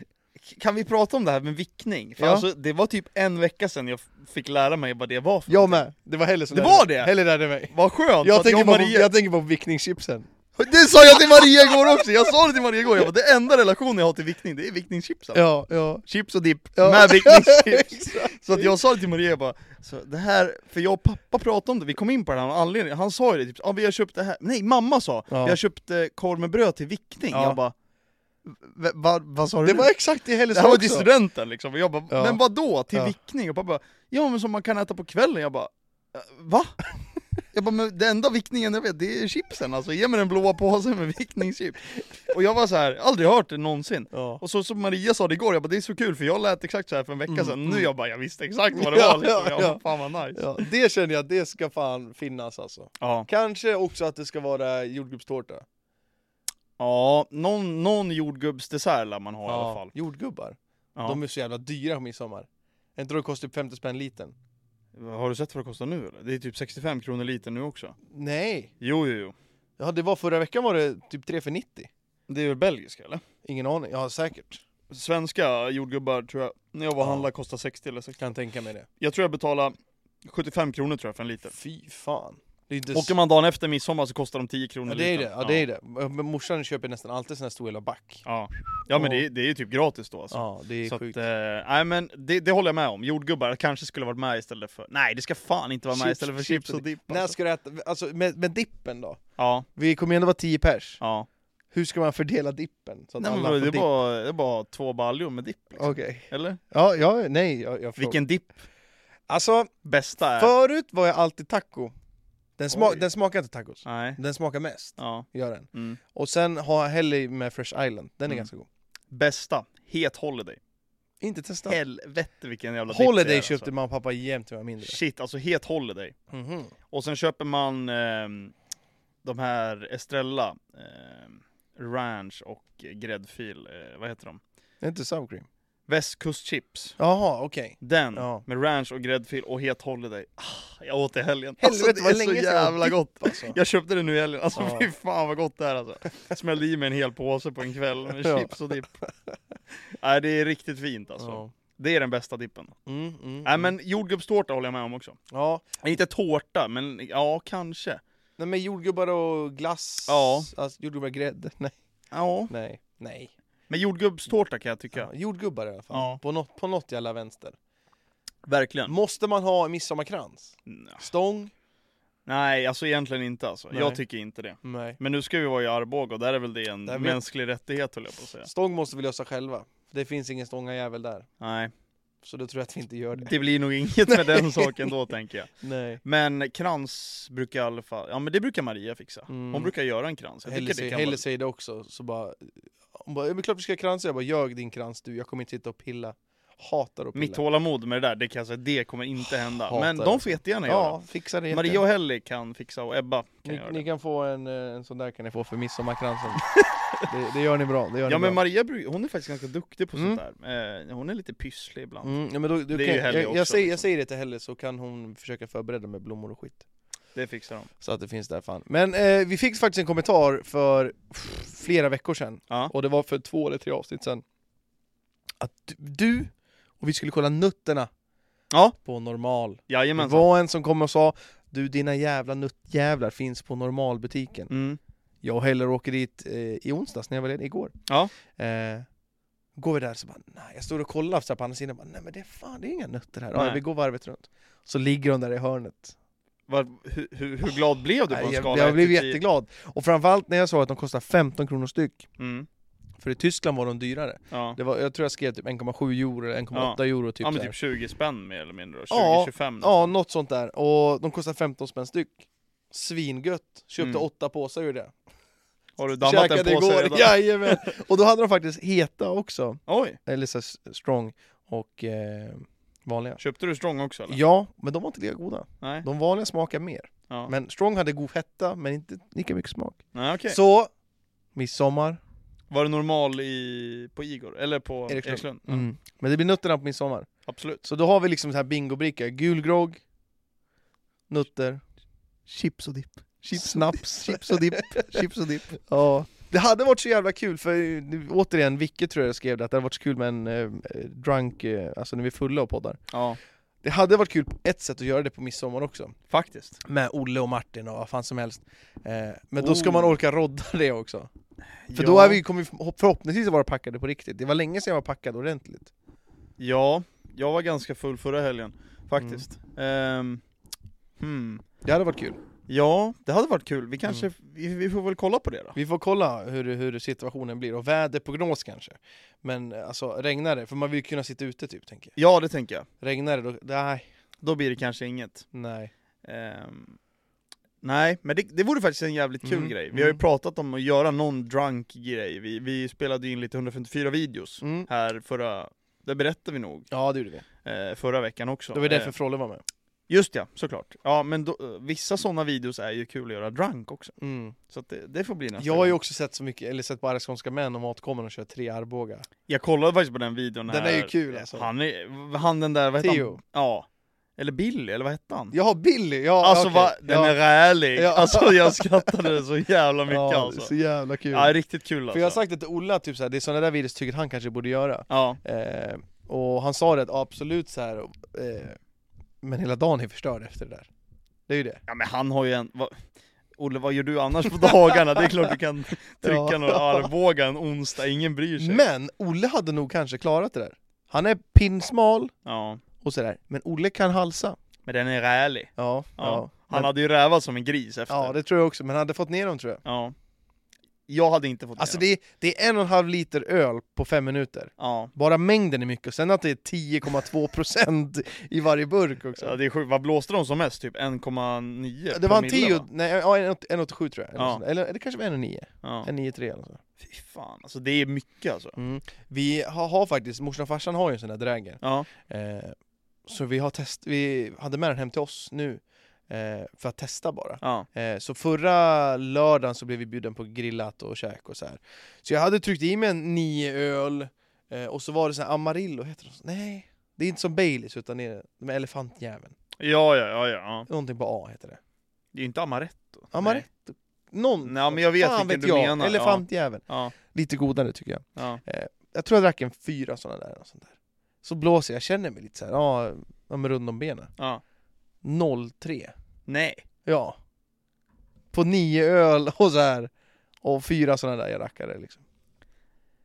Kan vi prata om det här med vickning? För
Ja.
alltså, det var typ en vecka sedan jag f- fick lära mig vad det var för
Jag
någonting.
med! Det var Helle som
Det
lärde mig.
var det?
Helle lärde mig.
Vad skönt!
Jag
att
tänker,
och
bara på,
Maria-
jag tänker på vickningschipsen.
Det sa jag till Maria igår också! Jag sa det till Maria igår, jag bara, det enda relationen jag har till vickning, det är alltså." vickningschipsen
Ja, ja.
Chips och dipp,
Ja.
med vickningschips!
Exakt.
Så att jag sa det till Maria, jag bara, så det här, för jag och pappa pratade om det, vi kom in på den här anledningen, han sa ju det typ, ja vi har köpt det här, nej mamma sa,
Ja.
vi har köpt eh, korv med bröd till vickning,
Ja.
jag bara, "V- vad- vad sa du
Det
nu?"
var exakt det Helle
Det här
sa
var till
också.
studenten liksom, och jag bara
Ja.
men vadå? Till
Ja.
vickning? Och pappa bara ja men som man kan äta på kvällen, jag bara "Eh, va? Jag bara men den enda vickningen jag vet det är chipsen alltså, ge mig den blåa påsen med vickningschips Och jag var så här, aldrig hört det någonsin
Ja.
och så som Maria sa det igår, jag bara det är så kul för jag lät exakt så här för en vecka
Mm,
sedan,
mm.
nu jag bara jag visste exakt vad det
Ja,
var liksom,
ja,
jag
ja.
bara, fan vad nice
Ja, det känner jag, det ska fan finnas alltså.
Ja,
Kanske också att det ska vara jordgubbstårta.
ja någon, någon jordgubbsdessert lär man ha i alla fall
Jordgubbar.
ja.
De är så jävla dyra på midsommar. Jag tror det kostar typ 50 spänn litern.
Har du sett vad det kostar nu eller? Det är typ 65 kronor liter nu också
Nej!
Jo jo jo
Ja, det var förra veckan var det typ 3 för 90.
Det är väl belgiska eller?
Ingen aning, ja säkert.
svenska jordgubbar tror jag, när jag var och
Ja.
handlade kostade 60 eller 60
Kan tänka mig det.
Jag tror jag betalade 75 kronor tror jag för en liter
Fy fan. Det är inte s-
Åker man dagen efter midsommar så kostar de 10 kronor
ja, det är det,
litern.
ja, det är det. Men Morsan köper nästan alltid sån här stor jävla back.
Ja, ja men det är, det är ju typ gratis då alltså
Ja, det är
Så att,
sjukt.
eh, nej men det, det håller jag med om, jordgubbar kanske skulle varit med istället för, nej det ska fan inte vara med
Chips-
istället för
chips
chips
och
och dipp
När
alltså.
ska du äta, alltså med, med dippen då?
Ja,
Vi kommer ju ändå vara 10 pers.
ja.
Hur ska man fördela dippen? Så att
Nej, men
alla
bro,
får
det, är
dipp?
bara, det är bara två baljor med dipp liksom.
Okej.
Eller?
Ja, ja, nej, jag, jag frågar.
Vilken dipp?
Alltså,
Bästa är...
förut var jag alltid taco. Den, sma
Oj.
den smakar inte tacos.
Nej.
Den smakar mest,
Ja.
gör den.
Mm.
Och sen har jag Helly med Fresh Island, den är
Mm.
ganska god.
Bästa. Het Holiday.
Inte testat.
Helvete vilken jävla dipp det är,
Holiday
alltså.
köpte mamma och pappa jämt när jag var mindre.
Shit, alltså het Holiday.
Mhm.
Och sen köper man ehm, de här Estrella, ehm, Ranch och gräddfil, eh, vad heter de?
Det är inte sour cream.
Västkustchips.
Jaha, okej.
Den,
Ja.
med ranch och gräddfil och het Holiday. Ah, jag åt det i helgen.
Helvete,
det
vad
är
Alltså, länge
så
sedan jag åt
jävla
dipp,
gott.
alltså.
Jag köpte det nu i helgen, alltså
Ja.
fy fan vad gott det är alltså. Smällde i mig en hel påse på en kväll med
Ja.
chips och dipp. Nej det är riktigt fint alltså.
Ja.
Det är den bästa dippen.
Mm, mm,
Nej
mm.
men jordgubbstårta håller jag med om också.
Ja.
Inte tårta, men ja kanske.
Nej men jordgubbar och glass,
Ja.
alltså, jordgubbar och grädde, nej.
Ja.
Nej. Nej.
Men jordgubbstårta kan jag tycka.
Ja, jordgubbar i alla fall,
Ja.
på, något, på något jävla vänster.
Verkligen.
Måste man ha midsommarkrans?
Nja.
Stång?
Mm, Nej, alltså egentligen inte alltså.
Nej.
Jag tycker inte det.
Nej.
Men nu ska vi vara i Arboga och där är väl det en
Där vet-
mänsklig rättighet höll jag på att säga.
Stång måste vi lösa själva. Det finns ingen stångarjävel där.
Nej,
Så då tror jag att vi inte gör det.
det blir nog inget med den saken då tänker jag.
Nej.
Men krans brukar i alla fall, ja men det brukar Maria fixa. Hon
Mm.
brukar göra en krans. Jag
Helle
tycker det
säger,
kan vara...
Helle säger det också, så bara... Hon bara, "Ja, men klart vi ska kransa. Jag bara, jag din krans du, jag kommer inte sitta och pilla. Hatar att pilla.
Mitt tålamod med det där, det kan jag säga, det kommer inte hända.
Hatar
men de
det.
får jättegärna
Ja, fixa det
göra.
jättegärna.
Maria och Helly kan fixa och Ebba kan
ni,
göra
ni
det.
kan få en, eh, en sån där kan ni få för midsommarkransen. det, det gör ni bra, det gör
Ja
ni
men
bra.
Maria bru- hon är faktiskt ganska duktig på
Mm.
sånt där. Eh, hon är lite pysslig ibland.
Mm, ja, men då, då
Det är
kan,
ju
jag,
Helle
jag,
också,
säger,
liksom.
jag säger det till Helle så kan hon försöka förbereda med blommor och skit.
Det fixar hon.
Så att det finns där fan. Men eh, vi fick faktiskt en kommentar för pff, flera veckor sedan.
Ja.
Och det var för två eller tre avsnitt sedan. Att du- du och vi skulle kolla nutterna
Ja.
på normal. Det
Jajamensan.
var en som kom och sa Du dina jävla nuttjävlar finns på normalbutiken.
Mm.
Jag och Heller åker dit eh, i onsdags när jag var ledig, igår.
Ja.
Eh, går vi där så bara, nej, jag står och kollar så här på andra sidan, bara, nej men det är fan, det är inga nötter här.
Nej.
Ja, vi går varvet runt. Så ligger de där i hörnet.
Vad- hur, hur, hur glad blev du på typ en
Nej, jag,
skala
jag blev
1 till 10?
jätteglad. Och framförallt när jag såg att de kostar 15 kronor styck.
Mm.
För i Tyskland var de dyrare.
Ja.
Det var, jag tror jag skrev typ 1,7 euro eller 1,8 euro typ.
ja men
så här.
typ 20 spänn mer eller mindre då. 20,
Ja,
25
Ja, något sånt där. Och de kostar 15 spänn styck. Svingött! Köpte
Mm.
åtta påsar ur det.
Har du dammat en påse redan?
jajamän! Och då hade de faktiskt heta också.
Oj,
Eller så här strong och eh, vanliga.
köpte du strong också eller?
Ja, men de var inte lika goda.
Nej.
De vanliga smakar mer.
Ja.
Men strong hade god hetta, men inte lika mycket smak.
Nej okej.
Så, midsommar.
Var det normal i, på Igor? Eller på Erikslund?
Erikslund. Mm. Men det blir nutterna på midsommar.
Ja, absolut.
Så då har vi liksom så här bingobricka, gul grogg, nutter,
Chips och dipp.
snaps.
Chips och dipp. Chips och dipp.
Ja. Det hade varit så jävla kul, för nu, återigen, Vicke tror jag skrev det, att det hade varit så kul med en eh, drunk, eh, alltså när vi är fulla och poddar.
Ja,
Det hade varit kul på ett sätt att göra det på midsommar också,
faktiskt.
med Olle och Martin och vad fan som helst. Eh, men då ska
Oh.
man orka rodda det också. För
ja.
då är vi, kommer vi förhopp- förhoppningsvis att vara packade på riktigt. Det var länge sedan jag var packad ordentligt.
Ja, jag var ganska full förra helgen. Faktiskt.
Mm.
Ehm, hmm.
Det hade varit kul.
Ja, det hade varit kul.
Mm.
Vi kanske, vi, vi får väl kolla på det då.
Vi får kolla hur, hur situationen blir, och väderprognos kanske. Men eh, alltså, regnar det? För man vill ju kunna sitta ute typ, tänker
Ja, det tänker jag.
jag. Regnar det då? Nej,
Då blir det kanske inget.
nej.
Ehm, nej, men det, det vore faktiskt en jävligt kul
Mm,
grej. Vi har
mm.
ju pratat om att göra någon drunk grej. Vi, vi spelade ju in lite 154 videos
Mm.
här förra, det berättade vi nog,
Ja, det gjorde vi.
eh, förra veckan också.
Det var därför
Eh,
Frolle var med.
just ja, såklart. Ja, men då, eh, vissa sådana videos är ju kul att göra drunk också.
Mm.
Så att det, det får bli nästa
Jag har ju
gång.
också sett så mycket, eller sett bara skånska män och matkommor och kör tre Arboga.
Jag kollade faktiskt på den videon
Den
här.
är ju kul, alltså.
Han, är, han den där, vad hette han?
Theo.
Ja. Eller Billy, eller vad hette han?
Jaha, Billy! Ja,
alltså
okej.
va, den
ja.
är rälig!
Ja.
Alltså jag skrattade så jävla mycket
ja,
alltså.
Så jävla kul.
Ja, riktigt kul
För
alltså.
jag har sagt det till Olle, att typ så här, det är sådana där videos tycker han kanske borde göra.
Ja,
Eh, och han sa det att ja, absolut så här. Eh, men hela dagen är förstörd efter det där. Det är ju det.
ja men han har ju en... Va... Olle, vad gör du annars på dagarna? Det är klart du kan trycka
Ja.
några Arboga en onsdag, ingen bryr sig.
Men Olle hade nog kanske klarat det där. Han är pinsmal
Ja,
och sådär, men Olle kan halsa.
men den är rälig.
Ja,
Ja.
ja.
Han
Men,
hade ju rävat som en gris efter.
ja det tror jag också, men han hade fått ner dem tror jag.
Ja. Jag hade inte fått
Alltså
med
det är, det är en och en halv liter öl på fem minuter.
Ja.
Bara mängden är mycket, och sen att det är 10,2% i varje burk också.
ja, det är sjukt. Vad blåste de som mest? Typ 1,9
det var en
promille,
10,
va?
nej, ja, en åt- en 1,87 tror jag. Eller,
Ja.
något sånt. eller, eller kanske var 1,9.
Ja.
1,93 eller så.
Fy fan, alltså det är mycket alltså.
Mm. Vi har, har faktiskt, morsan och farsan har ju en sån där dräger.
Ja,
Eh, så vi, har test, vi hade med den hem till oss nu, eh, för att testa bara.
ja,
Eh, så förra lördagen så blev vi bjuden på grillat och käk och så här. Så jag hade tryckt i mig en nio öl, eh, och så var det sån här Amarillo, heter det så? Nej, det är inte som Baileys utan det är de här elefantjäveln.
ja, ja, ja, ja.
Någonting på A heter det.
Det är ju inte amaretto.
Amaretto? Någon?
Nej, men jag vet
Mm. Fan
vilken
vet
du
jag.
menar.
Elefantjäveln.
Ja,
Lite godare tycker jag.
ja,
Jag tror jag drack en fyra sådana där. Och sånt där. Så blåser jag, känner mig lite så här, ja, ja, men rund om benen.
ja.
03.
Nej.
Ja. På nio öl och så här. Och fyra sådana där jag rackade liksom.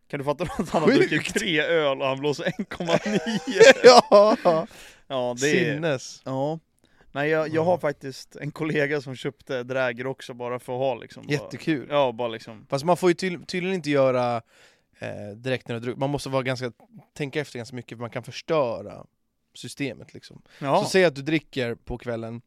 Kan du fatta att han har
Sjukt.
druckit tre öl och han blåser 1,9?
ja!
Ja, det är...
Sinnes.
Ja. Nej, jag, jag
Ja.
har faktiskt en kollega som köpte dräger också bara för att ha liksom. bara-
Jättekul.
Ja, bara liksom.
Fast man får ju tydl- tydligen inte göra eh, direkt när du har druckit. Man måste vara ganska, tänka efter ganska mycket för man kan förstöra systemet liksom.
Ja.
Så säg att du dricker på kvällen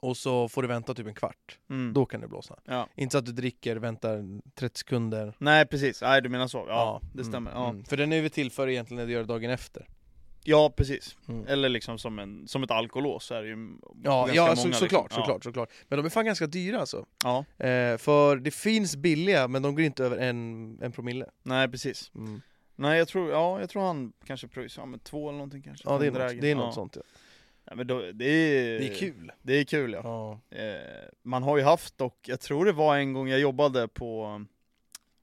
och så får du vänta typ en kvart.
Mm.
Då kan det blåsa.
Ja.
Inte så att du dricker, väntar 30 sekunder.
Nej, precis. Nej, du menar så. Ja, det stämmer.
Mm,
Ja.
mm. För den är ju till för egentligen när du gör det dagen efter.
ja, precis.
Mm.
Eller liksom som, en, som ett alkolås så är det ju
Ja,
ganska
ja
många,
så,
liksom.
såklart,
Ja.
såklart, såklart. Men de är fan ganska dyra alltså.
Ja,
Eh, för det finns billiga, men de går inte över en, en promille. Mm.
nej precis. Nej, jag tror, ja, jag tror han kanske pröjsade, ja men två eller någonting kanske.
Ja, det är
En Dragon.
något, det är något
ja.
sånt. Ja.
Ja, men då, det är...
Det är kul.
Det är kul ja.
Ja.
Eh, man har ju haft och jag tror det var en gång jag jobbade på,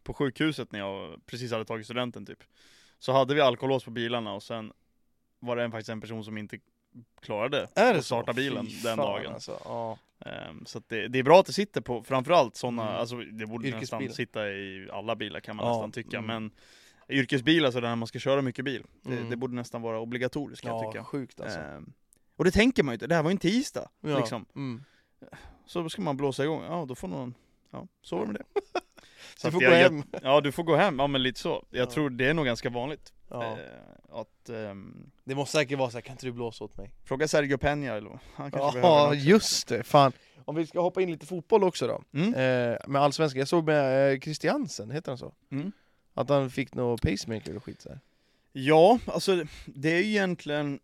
på sjukhuset när jag precis hade tagit studenten typ. Så hade vi alkolås på bilarna och sen var det en, faktiskt en person som inte klarade
Är det
att starta
så?
bilen
Fy
den
fan,
dagen.
Alltså. Ja.
Ehm, så att det, det är bra att det sitter på framförallt sådana,
Mm.
alltså det borde nästan
Yrkesbilar.
sitta i alla bilar kan man
Ja,
nästan tycka,
mm.
men yrkesbilar, så där man ska köra mycket bil, det,
Mm.
det borde nästan vara obligatoriskt kan jag
ja,
tycka.
sjukt alltså.
Ehm, och det tänker man ju inte, det här var ju en tisdag.
ja.
liksom.
Mm.
Så ska man blåsa igång, ja då får någon, ja så var det med det. Så
Du
att
får
jag-
gå hem.
Jag, ja du får gå hem, ja men lite så. Jag
Ja.
tror det är nog ganska vanligt.
Ja.
Eh, att, ehm,
Det måste säkert vara så här, kan inte du blåsa åt mig?
fråga Sergio Peña eller vad. han kanske
Ja,
behöver något.
just det. Fan. Om vi ska hoppa in lite fotboll också då.
Mm.
Eh, med allsvenskan. Jag såg med eh, Christiansen, heter han så?
Mm.
Att han fick någon pacemaker och skit så här.
Ja, alltså det är ju egentligen,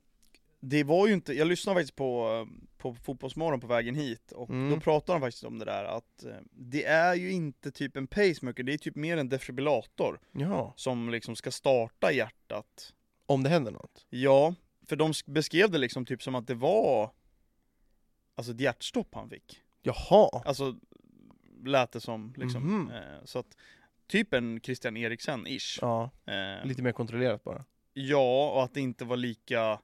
det var ju inte, jag lyssnade faktiskt på, på Fotbollsmorgon på vägen hit och
Mm.
då pratade de faktiskt om det där att eh, det är ju inte typ en pacemaker, det är typ mer en defibrillator
Ja.
som liksom ska starta hjärtat
Om det händer något.
Ja, för de sk- beskrev det liksom typ som att det var Alltså ett hjärtstopp han fick
Jaha.
Alltså lät det som liksom
Mhm.
eh, Så att typ en Christian Eriksen-ish
Ja,
eh,
lite mer kontrollerat bara.
Ja, och att det inte var lika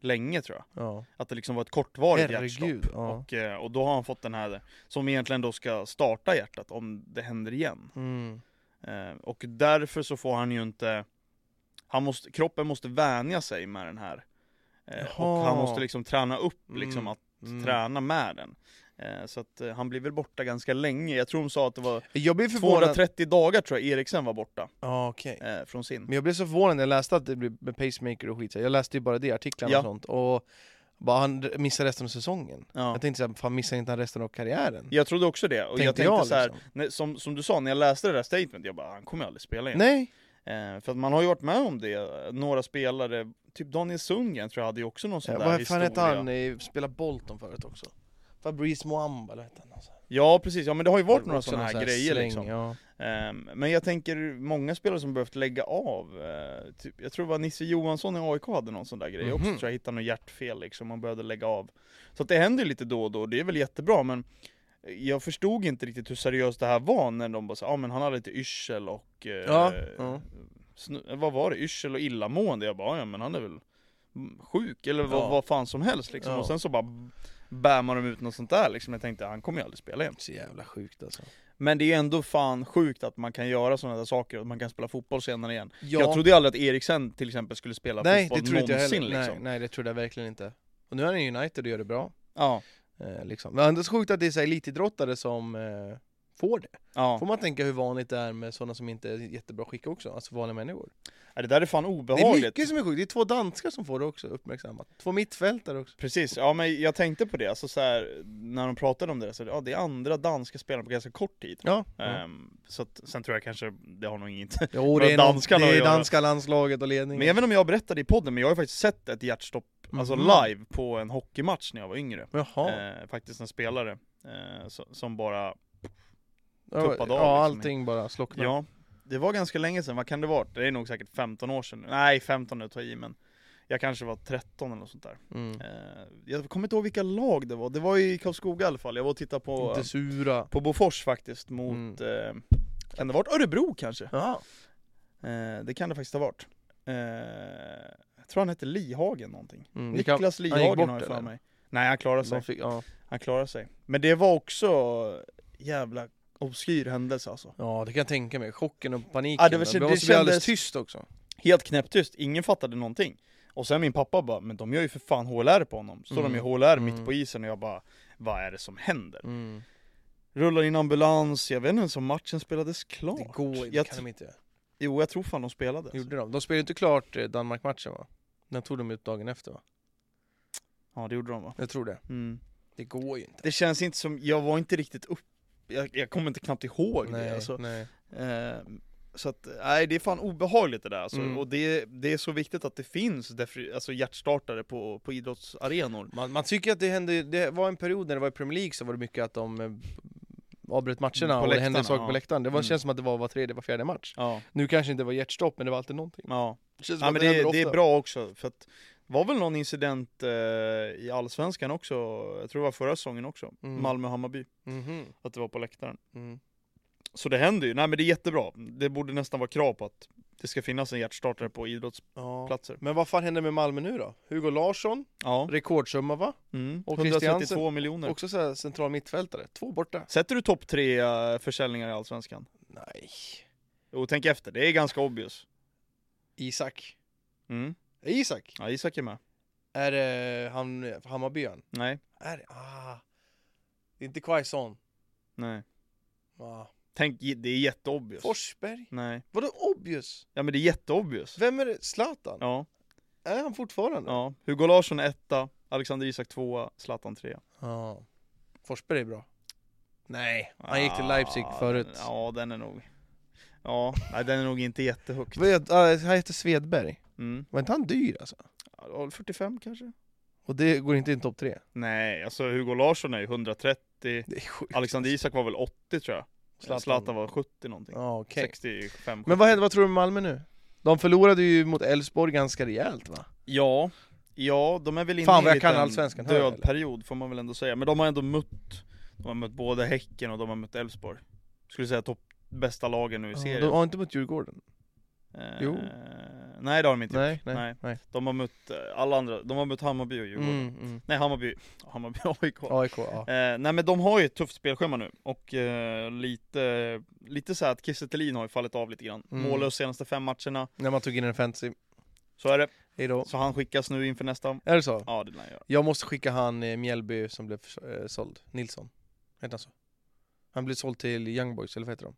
länge tror jag
Ja.
Att det liksom var ett kortvarigt hjärtstopp
Herregud. Ja.
och, eh, och då har han fått den här som egentligen då ska starta hjärtat om det händer igen
Mm.
eh, Och därför så får han ju inte han måste, Kroppen måste vänja sig med den här eh, Och
Jaha.
han måste liksom träna upp
Mm.
liksom att
Mm.
träna med den. Eh, så att eh, han blir väl borta ganska länge. Jag tror de sa att det var
Jag blev förvånad.
230 dagar tror jag Eriksen var borta
Ja, okej.
eh, från sin.
Men jag blev så förvånad när jag läste att det blev med pacemaker och skit. så här. Jag läste ju bara det i artiklarna
Ja.
och sånt. Och bara han missar resten av säsongen.
Ja.
Jag tänkte såhär, fan missar inte han resten av karriären?
Jag trodde också det. Och jag
Tänkte
tänkte
jag
så här,
liksom.
när, som, som du sa, när jag läste det där statementet, jag bara han kommer ju aldrig spela igen.
Nej.
Eh, för att man har ju varit med om det, några spelare, typ Daniel Sundgren tror jag hade ju också någon sån
Ja,
där
vad fan hette
historia.
han? Eh, Spelade Bolton förut också. Fabrice Moamba, eller vad hette han? Alltså.
Ja precis, ja men det har ju varit
Det var
några
också
sådana
någon
här,
sån här
grejer
släng,
liksom.
Ja.
Ehm, Men jag tänker många spelare som behövt lägga av. eh, Typ, jag tror det var Nisse Johansson i AIK hade någon sån där grej också.
Mhm.
Tror jag hittade något hjärtfel liksom, man behövde lägga av. Så att det händer ju lite då och då, det är väl jättebra men jag förstod inte riktigt hur seriöst det här var när de bara sa ah, men han hade lite yrsel och... eh,
Ja, ja.
snu- eh, vad var det? Yrsel och illamående? Jag bara, ja men han är väl sjuk eller vad,
Ja.
vad fan som helst liksom.
Ja.
Och sen så bara bämmar de ut något sånt där liksom. Jag tänkte, han kommer ju aldrig spela igen.
Så jävla sjukt alltså.
Men det är ju ändå fan sjukt att man kan göra sådana där saker, att man kan spela fotboll senare igen.
Ja.
Jag trodde ju aldrig att Eriksen till exempel skulle spela
nej, det
fotboll
trodde inte jag
någonsin
heller. Nej,
liksom.
nej, det trodde jag verkligen inte. Och nu är han i United och gör det bra.
Ja,
Eh, liksom. Men det är så sjukt att det är så här elitidrottare som eh, får det.
Ja.
Får man tänka hur vanligt det är med sådana som inte är jättebra skick också, alltså vanliga människor.
Ja, Det där är fan
Det är
obehagligt.
mycket som är sjukt, det är två danskar som får det också uppmärksammat. Två mittfältare också.
Precis, ja men jag tänkte på det, alltså så här, när de pratade om det där, så ja det är andra danska spelare på ganska kort tid.
Ja.
Ehm, så att, sen tror jag kanske, det har nog inget
Jo,
Vad
det är, någon,
danskarna
det är
gör.
danska landslaget och ledningen.
Men jag vet inte om jag berättade i podden, men jag har ju faktiskt sett ett hjärtstopp, alltså
Mhm.
live, på en hockeymatch när jag var yngre.
Jaha.
Eh, faktiskt en spelare, eh, so- som bara,
ja,
tuppade av
ja,
liksom.
allting bara slocknade.
ja, det var ganska länge sedan, vad kan det vara? Det är nog säkert 15 år sedan, nej 15 nu tar jag i men jag kanske var 13 eller något sånt där.
Mm.
Eh, jag kommer inte ihåg vilka lag det var, det var i Karlskoga i alla fall, jag var och tittade på
Inte Mm. sura.
På Bofors faktiskt mot, eh, kan det ha varit Örebro kanske?
Ja.
Eh, det kan det faktiskt ha varit. Eh, jag tror han hette Lihagen någonting.
Mm, det kan,
Niklas
gick
Lihagen
bort,
har jag för
eller?
mig. Nej han klarade sig.
de fick, ja.
Han klarade sig. Men det var också jävla obskyr händelse alltså.
ja, det kan jag tänka mig. Chocken och paniken.
Ja, det
det,
var- det
måste bli alldeles
kändes-
tyst också.
Helt knäpptyst, ingen fattade någonting. Och sen min pappa bara, men de gör ju för fan HLR på honom. Står
Mm.
de i HLR
Mm.
mitt på isen och jag bara, vad är det som händer?
Mm.
Rullar in ambulans, jag vet inte ens om matchen spelades klart.
Det går inte,
jag,
kan de inte göra.
Jo jag tror fan de spelade. alltså.
Gjorde de? De spelade ju inte klart eh, Danmark-matchen va? Den tog de ut dagen efter va?
Ja det gjorde de va?
Jag tror det.
Mm.
Det går ju inte.
Det känns inte som, jag var inte riktigt upp, jag, jag kommer inte knappt ihåg
nej,
det alltså.
nej.
Eh, så att, nej det är fan obehagligt det där alltså.
Mm.
Och det, det är så viktigt att det finns därför, alltså, hjärtstartare på, på idrottsarenor.
Man, man tycker att det hände, det var en period när det var i Premier League så var det mycket att de eh, avbröt matcherna
På
och det hände
läktarna,
saker på
ja.
läktaren. Det var,
Mm.
känns som att det var var tredje, var fjärde match.
Ja,
Nu kanske inte var hjärtstopp men det var alltid någonting.
ja.
Det känns som
Nej,
att
men
händer
det, det är
ofta.
bra också för att det var väl någon incident eh, i Allsvenskan också, jag tror det var förra säsongen också,
Mm.
Malmö-Hammarby,
Mhm,
att det var på läktaren.
mm.
Så det händer ju, nej men det är jättebra. Det borde nästan vara krav på att det ska finnas en hjärtstartare på idrottsplatser.
Ja. Men vad fan händer med Malmö nu då? Hugo Larsson,
Ja.
rekordsumma va?
Mm.
Och
132
Christiansen.
miljoner.
Också så här central mittfältare, två borta.
Sätter du topp tre eh, försäljningar i Allsvenskan?
Nej.
Jo, tänk efter. Det är ganska obvious.
Isak.
Mm.
Är Isak?
Ja, Isak är med.
Är det han, Hammarbyen?
Nej,
Är det? Ah. Det är inte Quaison.
nej.
Ah.
Tänk, j- det är jätteobvious.
Forsberg?
Nej.
Vadå obvious?
Ja, men det är jätteobvious.
Vem är det? Zlatan?
Ja,
Är han fortfarande?
ja. Hugo Larsson är etta, Alexander Isak tvåa, Zlatan trea.
Ja. Forsberg är bra. Nej, han gick till Leipzig
Ah,
förut.
Den, ja, den är nog... Ja, nej, den är nog inte jättehögt.
Vet, ah, han heter Svedberg.
Mm.
Var inte han dyr alltså?
Ja, 45 kanske?
Och det går inte in i topp tre.
Nej, alltså Hugo Larsson är ju 130.
Det är sjukt.
Alexander Isak var väl 80 tror jag.
Zlatan.
Zlatan, var 70 någonting.
Ja, okej.
65.
Men vad hände, vad tror du med Malmö nu? De förlorade ju mot Elfsborg ganska rejält va?
Ja, ja de är väl inne
Fan,
i
vad jag
en
kan
liten
Allsvenskan, hör jag,
död
eller?
period får man väl ändå säga. Men de har ändå mött, de har mött både Häcken och de har mött Elfsborg. Skulle säga topp bästa lagen nu i serien.
de har inte mot Djurgården.
Eh,
jo.
Nej det har de inte.
Nej, nej,
nej.
nej.
De har mött eh, alla andra, de har mött Hammarby och Djurgården.
Mm, mm.
Nej Hammarby, Hammarby AIK.
AIK, ja.
Eh, nej men de har ju ett tufft spelschema nu och eh, lite, lite så här att Kiese Thelin har ju fallit av lite grann.
Mm.
Mållös senaste fem matcherna,
När man tog in en fantasy.
så är det.
Hejdå.
Så han skickas nu inför nästa.
Är det så?
Ja det lär han göra.
Jag måste skicka han eh, Mjällby som blev förs- eh, såld. Nilsson. Heter han så? Han blev såld till Young Boys, eller vad heter de?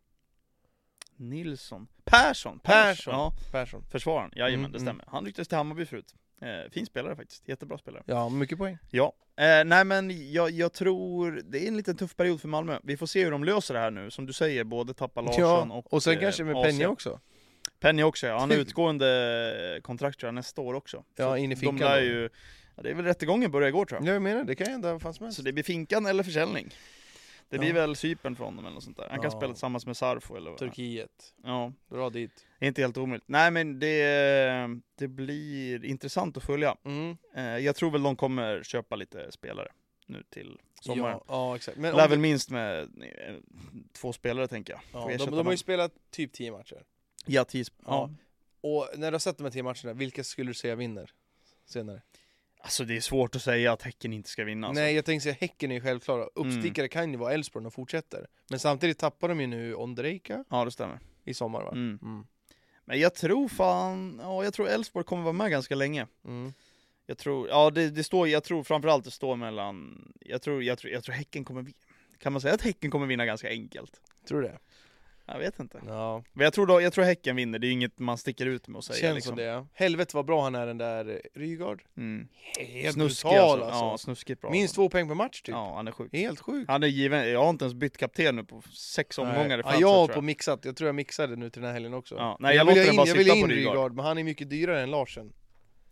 Nilsson. Persson!
Persson.
Ja,
Persson.
försvararen. Jajamän,
Mm,
det
mm.
stämmer. Han rycktes till Hammarby förut. Eh, fin spelare faktiskt. Jättebra spelare.
Ja, mycket poäng.
Ja. Eh, nej men jag, jag tror, det är en liten tuff period för Malmö. Vi får se hur de löser det här nu. Som du säger, både tappa Larsson
ja,
och... eh,
och, sen kanske med
AC.
Penja också.
Penny också ja. Han har utgående eh, kontrakt tror jag, nästa år också.
Ja, in i
De
finkan.
lär
då.
ju... Ja, det är väl rättegången börjar igår tror
Ja,
jag.
jag menar det kan hända vad fan som helst.
Så det blir finkan eller försäljning. Det blir
Ja.
väl Cypern från dem eller något sånt där. Han kan
Ja.
spela tillsammans med Sarfo eller vad
Turkiet,
Ja.
dra dit.
Inte helt omöjligt. Nej men det, eh, det blir intressant att följa.
Mm.
Eh, jag tror väl de kommer köpa lite spelare nu till sommaren.
Ja, ja, exakt. Men om
Lär
det-
väl minst med eh, två spelare tänker jag.
ja,
Får
de,
ersätta
de har ju
dem.
spelat typ 10 matcher.
Ja, tis, ja.
Ja. Och när du har sett de här 10 matcherna, vilka skulle du säga vinner? Senare.
Alltså det är svårt att säga att Häcken inte ska vinna. Alltså.
Nej, jag tänkte säga Häcken är ju självklara.
Mm.
Uppstickare kan ju vara Elfsborg om de fortsätter. Men samtidigt tappar de ju nu Ondrejka
Ja det stämmer.
i sommar va?
Mm.
Mm.
Men jag tror fan, ja jag tror Elfsborg kommer vara med ganska länge.
Mm.
Jag tror, ja det, det står, jag tror framförallt det står mellan, jag tror, jag tror, jag tror Häcken kommer, vi- kan man säga att Häcken kommer vinna ganska enkelt?
Tror du det?
Jag vet inte.
Ja,
Men jag tror, då, jag tror Häcken vinner, det är inget man sticker ut med att säga.
känns
liksom.
som det. ja. Helvete vad bra han är den där eh, Rygaard.
Mm.
Helt
Snuskig
brutal
alltså. Ja,
alltså.
snuskigt bra.
Minst två poäng per match typ.
Ja, han är sjuk.
Helt sjukt.
Han är given, jag har inte ens bytt kapten nu på sex omgångar i
Nej. ja,
Fantasy,
jag har
tror
på mixat, jag tror jag mixade nu till den här helgen också.
Ja,
Men
nej, jag låter
vill
den
in,
bara
jag vill
sitta
in
på Rygaard.
men han är mycket dyrare än Larsen.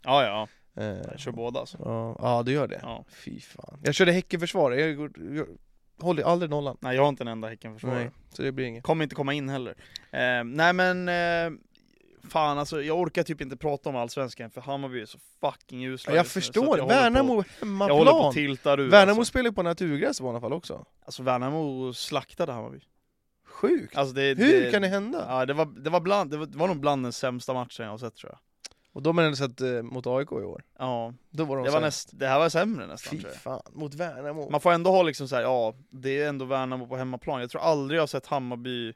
Ja, ja,
Eh,
jag kör båda alltså.
ja, ja, du gör det.
Ja.
Fy fan. Jag körde Häckenförsvar, jag, går- jag håller aldrig nollan.
Nej, jag har inte en enda Häckenförsvarare.
Nej, så det blir inget.
Kommer inte komma in heller. Eh, nej men, eh, fan alltså jag orkar typ inte prata om Allsvenskan för Hammarby är så fucking usla
Ja, jag
just nu, så
förstår,
att jag håller på-
Värnamo
Jag håller på
hemmaplan!
att tilta ur
Värnamo
alltså.
spelar ju på naturgräs i vanliga fall också.
alltså Värnamo slaktade Hammarby.
Sjukt!
Alltså, det,
Hur
det,
kan det hända?
Ja, det var, det, var bland, det, var, det var nog bland den sämsta matchen jag har sett tror jag.
Och de har ändå sett eh, mot AIK i år.
Ja,
Då var de
det, var
så här,
näst, det här var sämre nästan
Fy
tror jag.
fan, mot Värnamo.
Man får ändå ha liksom såhär, ja, det är ändå Värnamo på hemmaplan. Jag tror aldrig jag har sett Hammarby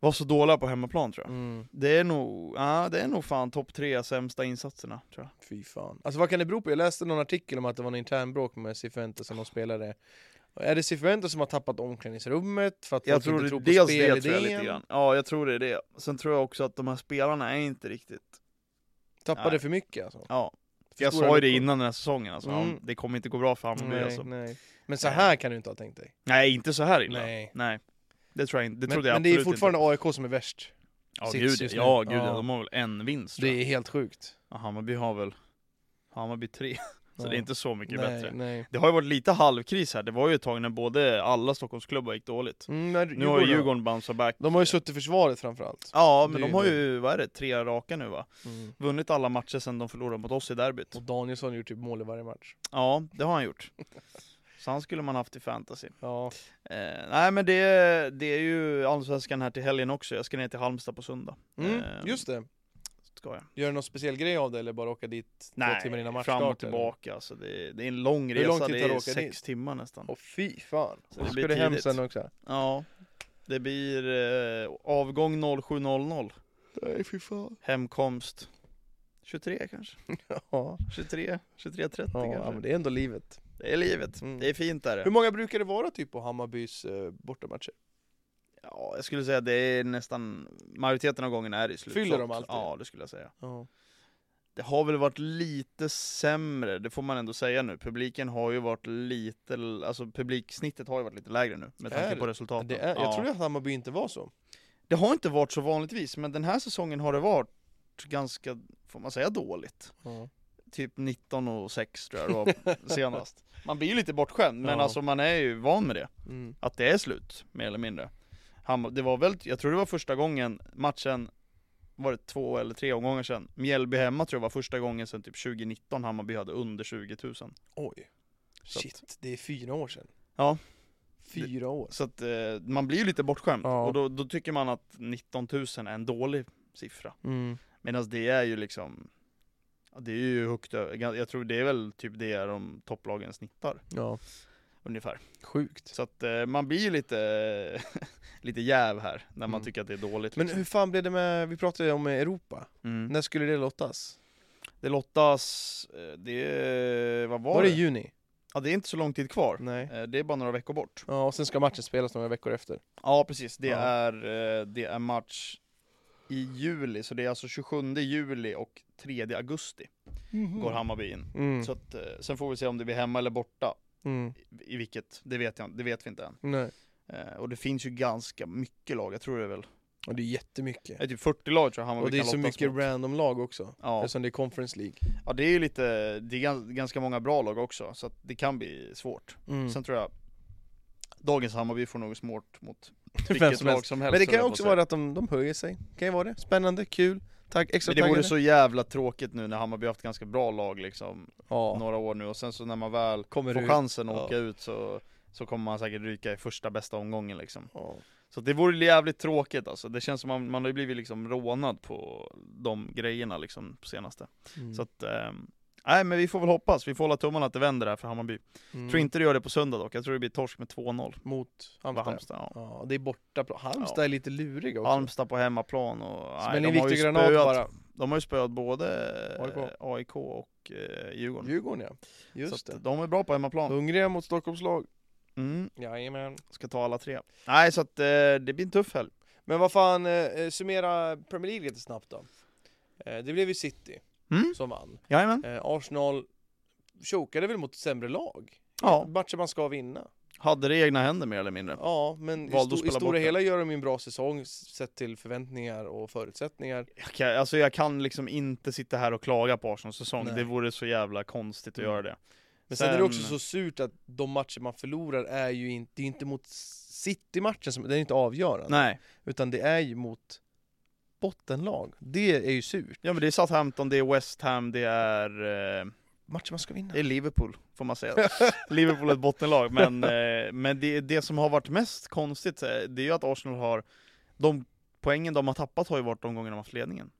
vara så dåliga på hemmaplan tror jag.
Mm,
Det är nog, ja, det är nog fan topp tre sämsta insatserna tror jag.
fy fan. Alltså vad kan det bero på? Jag läste någon artikel om att det var en intern bråk med Cifuentes som de spelade. Är det Cifuentes som har tappat omklädningsrummet för att
Jag
folk
tror
inte
det,
tror på
dels det tror jag
spelidén?
lite grann. Ja, jag tror det är det. Sen tror jag också att de här spelarna är inte riktigt,
Tappade
Nej.
för mycket alltså.
ja.
För
Jag
stora
sa ju det
luckor.
innan den här säsongen alltså,
Mm.
ja, det kommer inte gå bra för Hammarby
Nej,
alltså.
nej. Men så här kan du inte ha tänkt dig.
Nej, inte så här illa. Nej.
Nej.
Det tror jag inte, det
Men,
trodde jag
men det är
absolut
fortfarande AIK som är värst.
inte. Ja,
sits
gud,
just nu.
ja, gud
Ja.
ja. de har väl en vinst
Det
tror jag.
är helt sjukt.
Ja, Hammarby har väl, Hammarby tre. Så
Ja.
det är inte så mycket
nej,
bättre.
Nej.
Det har ju varit lite halvkris här, det var ju ett tag när både alla Stockholmsklubbar gick dåligt.
Mm, nej,
Nu har ju Djurgården bounceat back.
De har ju suttit i försvaret framförallt.
Ja,
Det
men
är
de
ju
har
det.
ju, vad är det, tre raka nu va?
Mm.
Vunnit alla matcher sedan de förlorade mot oss i derbyt.
Och Danielsson har gjort typ mål i varje match.
Ja, det har han gjort. Så han skulle man haft i fantasy.
Ja.
Eh, nej men det, det är ju Allsvenskan här till helgen också, jag ska ner till Halmstad på söndag.
Mm,
Ehm.
just det.
Ska jag.
Gör du någon speciell grej av det eller bara åka dit två timmar innan
Nej,
matchstart?
fram och
eller?
tillbaka alltså, det, är, det är en lång
Hur lång
resa,
tid
det
tar det
är
att åka
sex timmar nästan.
Åh fy fan.
Så
Och
det
så
blir
ska du hem
tidigt.
sen också.
Ja, det blir eh, avgång 07.00,
Nej fy fan.
hemkomst 23 kanske?
Ja,
23, 23.30
ja,
kanske?
men det är ändå livet.
Det är livet,
Mm.
det är fint där.
Hur många brukar det vara typ på Hammarbys eh, bortamatcher?
Ja, jag skulle säga att det är nästan majoriteten av gången är i slutsålt.
Fyller de alltid?
Ja, det skulle jag säga.
Ja.
Det har väl varit lite sämre, det får man ändå säga nu. Publiken har ju varit lite, alltså publiksnittet har ju varit lite lägre nu med tanke
Är
på resultaten.
Det är, jag
ja.
trodde att Hammarby inte var så.
det har inte varit så vanligtvis, men den här säsongen har det varit ganska, får man säga dåligt?
Ja.
Typ 19 och 6 tror jag det var senast. Man blir ju lite bortskämd, men
Ja.
alltså man är ju van med det.
Mm.
att det är slut, mer eller mindre. Han, det var väl, jag tror det var första gången matchen, var det två eller tre omgångar sedan, Mjällby hemma tror jag var första gången sedan typ 2019 Hammarby hade under 20 000.
Oj.
Så att-
Shit, det är fyra år sedan.
Ja.
Fyra år.
Så att eh, man blir ju lite bortskämd,
Ja.
och då, då tycker man att 19 000 är en dålig siffra.
Mm.
Medan det är ju liksom, ja, det är ju högt ö- jag tror det är väl typ det de topplagen snittar,
Ja.
ungefär.
Sjukt.
Så att eh, man blir ju lite, lite jäv här, när man
Mm.
tycker att det är dåligt.
Men
Liksom.
hur fan blev det med, vi pratade ju om Europa.
Mm.
När skulle det lottas?
Det lottas, eh, det, vad var,
Var det
det?
i juni?
Ja det är inte så lång tid kvar.
Nej.
Eh, Det är bara några veckor bort.
Ja, och sen ska matchen spelas några veckor efter.
Ja precis, det,
Ja.
Är, eh, det är match i juli, så det är alltså 27 juli och 3 augusti går Hammarby in.
Mm.
Så att, eh, sen får vi se om det blir hemma eller borta,
Mm.
i- i vilket, det vet, jag, det vet vi inte än.
Nej.
Eh, Och det finns ju ganska mycket lag, jag tror det är väl,
Och det är jättemycket.
det är typ 40 lag tror jag Hammarby
Och det är
kan
så
lottas
mycket
mot.
random lag också.
Ja.
Eftersom det är Conference League.
ja, det är ju lite, det är gans- ganska många bra lag också, så att det kan bli svårt.
Mm.
Sen tror jag Dagens Hammarby får nog smort mot vilket
som
lag
helst.
som helst
Men det kan ju
höll jag
också
på att
vara att de, de höjer sig. Kan ju vara det. Spännande, kul, tack, extra
säga. Men det vore
taggade.
så jävla tråkigt nu när Hammarby haft ganska bra lag liksom
Ja.
Några år nu och sen så när man väl
Kommer
får
du-
chansen att
Ja.
åka ut så Så kommer man säkert ryka i första bästa omgången liksom
Ja.
Så det vore jävligt tråkigt alltså Det känns som man, man har ju blivit liksom rånad på de grejerna liksom på senaste
Mm.
Så att ehm, Nej men vi får väl hoppas, vi får hålla tummarna att det vänder här för Hammarby
Mm.
Tror inte det gör det på söndag dock, jag tror det blir torsk med 2-0
Mot
Hamstad.
Halmstad.
Halmstad, ja.
Ja, det är borta. Halmstad
Ja.
är lite luriga också.
Halmstad på hemmaplan och... nej,
Smäller
de
in
har ju
Viktor Granat
spöat-
bara.
De har ju spöat både eh,
AIK.
AIK och eh, Djurgården.
Djurgården ja.
så
Just
att
det. Mm.
de är bra på hemmaplan.
Hungriga mot Stockholmslag.
Mm.
Jajamän.
Ska ta alla tre. Nej, så att eh, det blir en tuff helg.
Men vad fan, eh, summera Premier League lite snabbt då. Eh, det blev ju City
Mm.
som vann.
Jajamän.
Eh, Arsenal chokade väl mot sämre lag?
Ja.
Matcher man ska vinna.
Hade det i egna händer mer eller mindre.
Ja, men i, sto-
Valde att
i
spela
stora
bort det.
hela gör de ju en bra säsong s- sett till förväntningar och förutsättningar.
Jag kan, alltså jag kan liksom inte sitta här och klaga på Arsenals säsong.
Nej.
Det vore så jävla konstigt att
Mm.
göra det.
Men sen, är det också så surt att de matcher man förlorar är ju inte, det är ju inte mot City-matchen, som, den är inte avgörande.
Nej.
Utan det är ju mot bottenlag. Det är ju surt.
Ja men det är Southampton, det är West Ham, det är, eh,
Matcher man ska vinna.
det är Liverpool, får man säga. Liverpool är ett bottenlag, men, eh, men det, det som har varit mest konstigt, eh, det är ju att Arsenal har, de poängen de har tappat har ju varit de gånger de har haft ledningen.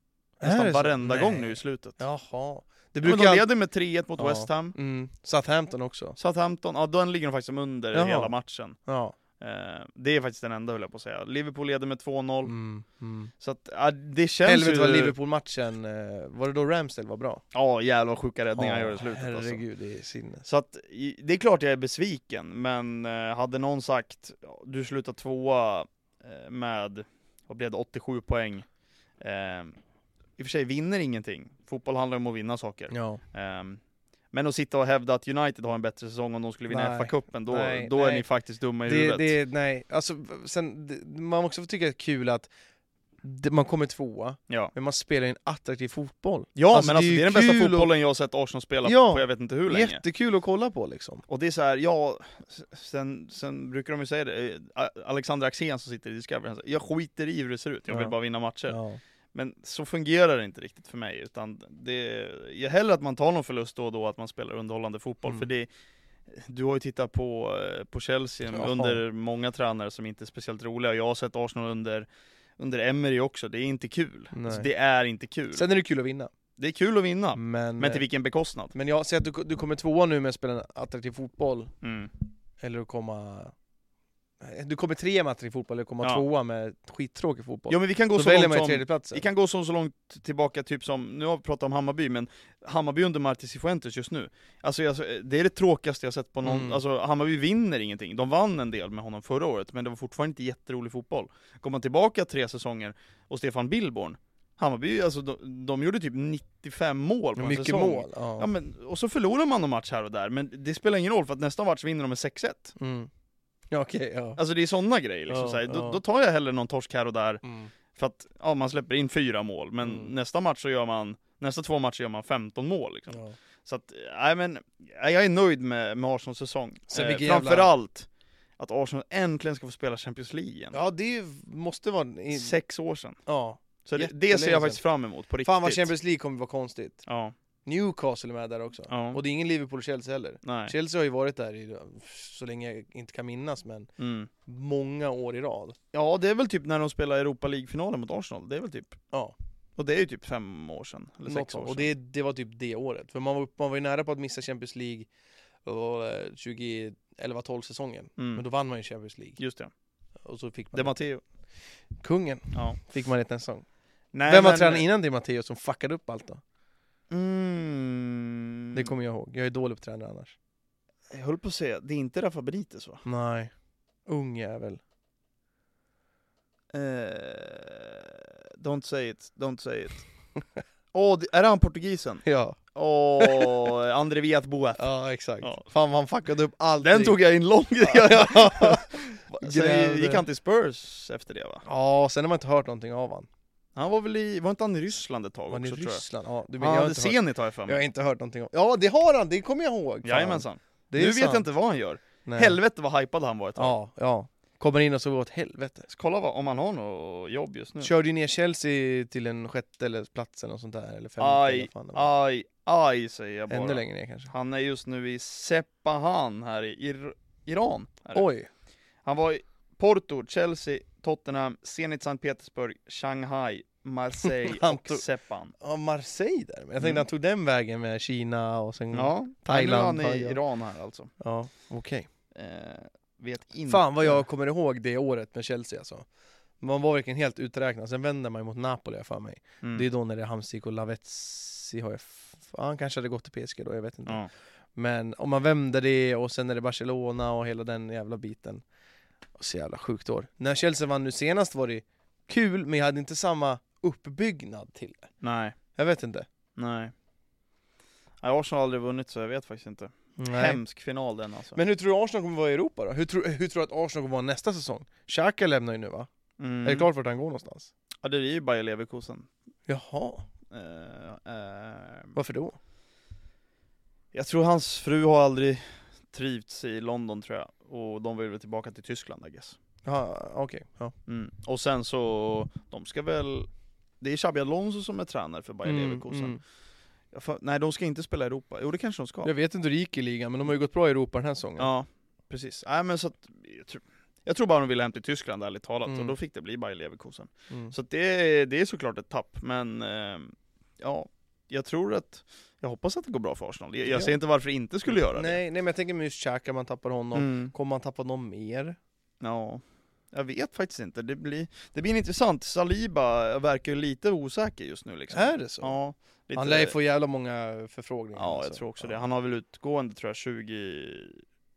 Är
Nästan
det så?
varenda
Nej.
gång nu i slutet.
Jaha. Det
Men
brukar...
de
Ja,
leder med 3-1 mot
Ja.
West Ham,
mm, Southampton också.
Southampton, ja den ligger de faktiskt som under
Jaha.
hela matchen.
Ja.
Eh, det är faktiskt den enda höll jag på att säga. Liverpool leder med 2-0,
Mm, mm.
så att, ja, det känns
Helvete
ju...
vad Liverpool-matchen, eh, var det då Ramsdale var bra?
Ja jävlar vad sjuka räddningar han gör i slutet alltså.
herregud, det är sinnes.
Så att, i- det är klart jag är besviken, men eh, hade någon sagt "Ja, du slutar tvåa eh, med, vad blev det, 87 poäng. Eh, I och för sig vinner ingenting, fotboll handlar om att vinna saker.
Ja.
Eh, men att sitta och hävda att United har en bättre säsong om de skulle vinna
Nej.
FA-cupen, då,
Nej,
då är
nej.
ni faktiskt dumma i
Det,
huvudet.
det, nej, alltså v- sen, det, man också får tycka det är kul att det- man kommer tvåa,
Ja,
men man spelar ju en attraktiv fotboll.
ja
Alltså,
men
det
alltså,
är ju
det är den bästa
kul och-
fotbollen jag har sett Arsenal spela
Ja.
på jag vet inte hur länge.
Jättekul att kolla på liksom.
Och det är så här, ja, s- sen, sen brukar de ju säga det, eh, A- Alexander Axén som sitter i Discovery, han säger, jag skiter i hur det ser ut, jag vill
Ja.
bara vinna matcher.
Ja.
Men så fungerar det inte riktigt för mig, utan det är hellre att man tar någon förlust då och då, att man spelar underhållande fotboll,
Mm.
för det du har ju tittat på, eh, på Chelsea
Ja.
under många tränare som inte är speciellt roliga. Jag har sett Arsenal under, under Emery också. Det är inte kul.
Nej.
Alltså, det är inte kul.
Sen Mm. är det kul att vinna.
Det är kul att vinna,
Men, eh,
men till vilken bekostnad?
men jag säger att du, du kommer tvåa nu med att spela en attraktiv fotboll,
Mm.
eller att komma... Du kommer trea med attraktiv fotboll, eller komma
Ja.
tvåa med skittråkig fotboll.
Ja, men vi kan gå
Då
så
väljer
långt
man ju
som...
tredjeplatsen.
Vi kan gå så, så långt tillbaka, typ som, nu har vi pratat om Hammarby, men Hammarby under Marti Cifuentes just nu. Alltså, alltså det är det tråkigaste jag sett på någon,
Mm.
alltså Hammarby vinner ingenting. De vann en del med honom förra året, men det var fortfarande inte jätterolig fotboll. Kom man tillbaka tre säsonger, och Stefan Billborn, Hammarby, alltså de, de gjorde typ 95 mål på en
Mycket
säsong.
mål. Ja.
Ja, Mm. men, och så förlorar man någon match här och där, men det spelar ingen roll för att nästa match vinner de med 6-1.
Mm. Ja, okej, ja.
Alltså det är sådana grejer liksom,
Ja,
så här, då,
ja.
då tar jag hellre någon torsk här och där,
Mm.
för att, ja man släpper in fyra mål, men
Mm.
nästa match så gör man, nästa två matcher gör man 15 mål liksom.
Ja.
Så att, nej men, nej, jag är nöjd med, med Arsenals säsong.
Sen
eh,
vilken jävla-
framförallt att Arsenal äntligen ska få spela Champions League igen.
ja, det är ju- måste vara... i-
Sex år sedan.
Ja.
Så det,
Jättelänge
det ser jag
sedan.
faktiskt fram emot på riktigt.
Fan vad Champions League kommer vara konstigt.
Ja,
Newcastle är med där också.
ja,
Och det är ingen Liverpool och Chelsea heller.
nej.
Chelsea har ju varit där i, så länge jag inte kan minnas, men
Mm.
många år i rad.
Ja, det är väl typ när de spelar Europa League-finalen mot Arsenal, det är väl typ,
Ja,
och det är ju typ fem år sedan, eller
något
sex år
sånt.
sedan.
Och det, det var typ det året. För man var, man var ju nära på att missa Champions League 2011-12 säsongen.
mm.
Men då vann man ju Champions League.
Just det,
Och så fick man
det är Matteo.
kungen.
Ja.
Fick man inte en sång.
Nej,
Vem var
men-
tränaren innan det Matteo som fuckade upp allt då?
Mm.
Det kommer jag ihåg. Jag är dålig på tränare annars.
Jag höll på att säga, det är inte Rafa Benitez va?
Nej. Ung jävel.
Eh, don't say it, don't say it. Åh, det- är det han portugisen?
Ja.
Åh, André Viat Boa.
Ja, exakt.
Ja.
Fan vad han fuckade upp allting.
Den tog jag in lång
ja, ja.
Sen
Grävde.
gick han till Spurs efter det va?
ja, sen har man inte hört någonting av han.
Han var väl i, var inte han i Ryssland ett tag
Var han i
också tror jag?
Ryssland? Ja, du vet,
Han
jag, har
hade
inte hört,
Zenit har jag för
jag har
mig.
inte hört någonting om. Ja, det har han! Det kommer jag ihåg! Fan.
Jajamensan.
Det
Nu
är
vet
sant.
jag inte vad han gör.
Nej.
Helvete vad hypad han var ett tag.
Ja, ja. Kommer in och så går åt helvete.
Så kolla vad, om han har något jobb just nu.
Körde ju ner Chelsea till en sjätte eller platsen och sånt där, eller femte
Aj,
eller fan det var.
Aj, aj säger jag bara.
Ännu längre ner kanske.
Han är just nu i Seppahan här i Ir- Iran. Är det.
Oj!
Han var i Porto, Chelsea, Tottenham, Zenit Sankt Petersburg, Shanghai, Marseille
Han
och
tog-
Seppan.
Ja, Marseille där. Men jag tänkte
Mm.
han tog den vägen med Kina och sen... Ja,
Ja,
Mm. Thailand,
Nu är han i
Thailand.
Iran här alltså.
ja okej.
Eh, vet inte.
Fan vad jag kommer ihåg det året med Chelsea alltså. Man var verkligen helt uträknad, sen vänder man ju mot Napoli har jag för mig.
Mm. Mm.
Det är då när det är Hamsik och Lavetzi har jag f- Han kanske hade gått till PSG då, jag vet inte.
Ja.
Men om man vänder det och sen är det Barcelona och hela den jävla biten. Så jävla sjukt år. När Chelsea vann nu senast var det kul, men jag hade inte samma uppbyggnad till det.
Nej,
Jag vet inte.
nej. Nej, Arsenal har aldrig vunnit så jag vet faktiskt inte. Hemsk final den alltså.
Men hur tror du Arsenal kommer vara i Europa då? Hur, tror- hur tror du att Arsenal kommer vara nästa säsong? Xhaka lämnar ju nu va?
Mm.
Är det klart vart han går någonstans?
Ja det är ju Bayer Leverkusen.
Jaha,
Eh, eh,
varför då?
jag tror hans fru har aldrig trivts i London tror jag. Och de vill väl tillbaka till Tyskland I guess.
Jaha, okej. Ja.
Mm. Och sen så, de ska väl det är Xabi Alonso som är tränare för Bayer Leverkusen.
mm.
Jag fa- nej, de ska inte spela i Europa. Jo, det kanske de ska.
Jag vet inte hur det gick i ligan, men de har ju gått bra i Europa den här säsongen.
Ja, precis. Nej men så att, jag, tror, jag tror bara de ville hem till Tyskland ärligt talat,
Mm.
och då fick det bli Bayer Leverkusen.
Mm.
Så att det, det är såklart ett tapp, men eh, ja, jag tror att, jag hoppas att det går bra för Arsenal. Jag,
Ja.
jag ser inte varför det inte skulle göra
nej, nej, men jag tänker med just Xhaka, man tappar
det.
honom.
Mm.
Kommer man tappa någon mer?
Ja, jag vet faktiskt inte. Det blir, det blir intressant. Saliba verkar ju lite osäker just nu liksom.
Är det så?
Ja, lite,
Han lär ju få jävla många förfrågningar.
Ja, jag
alltså.
tror också
Ja.
det. Han har väl utgående tror jag 20,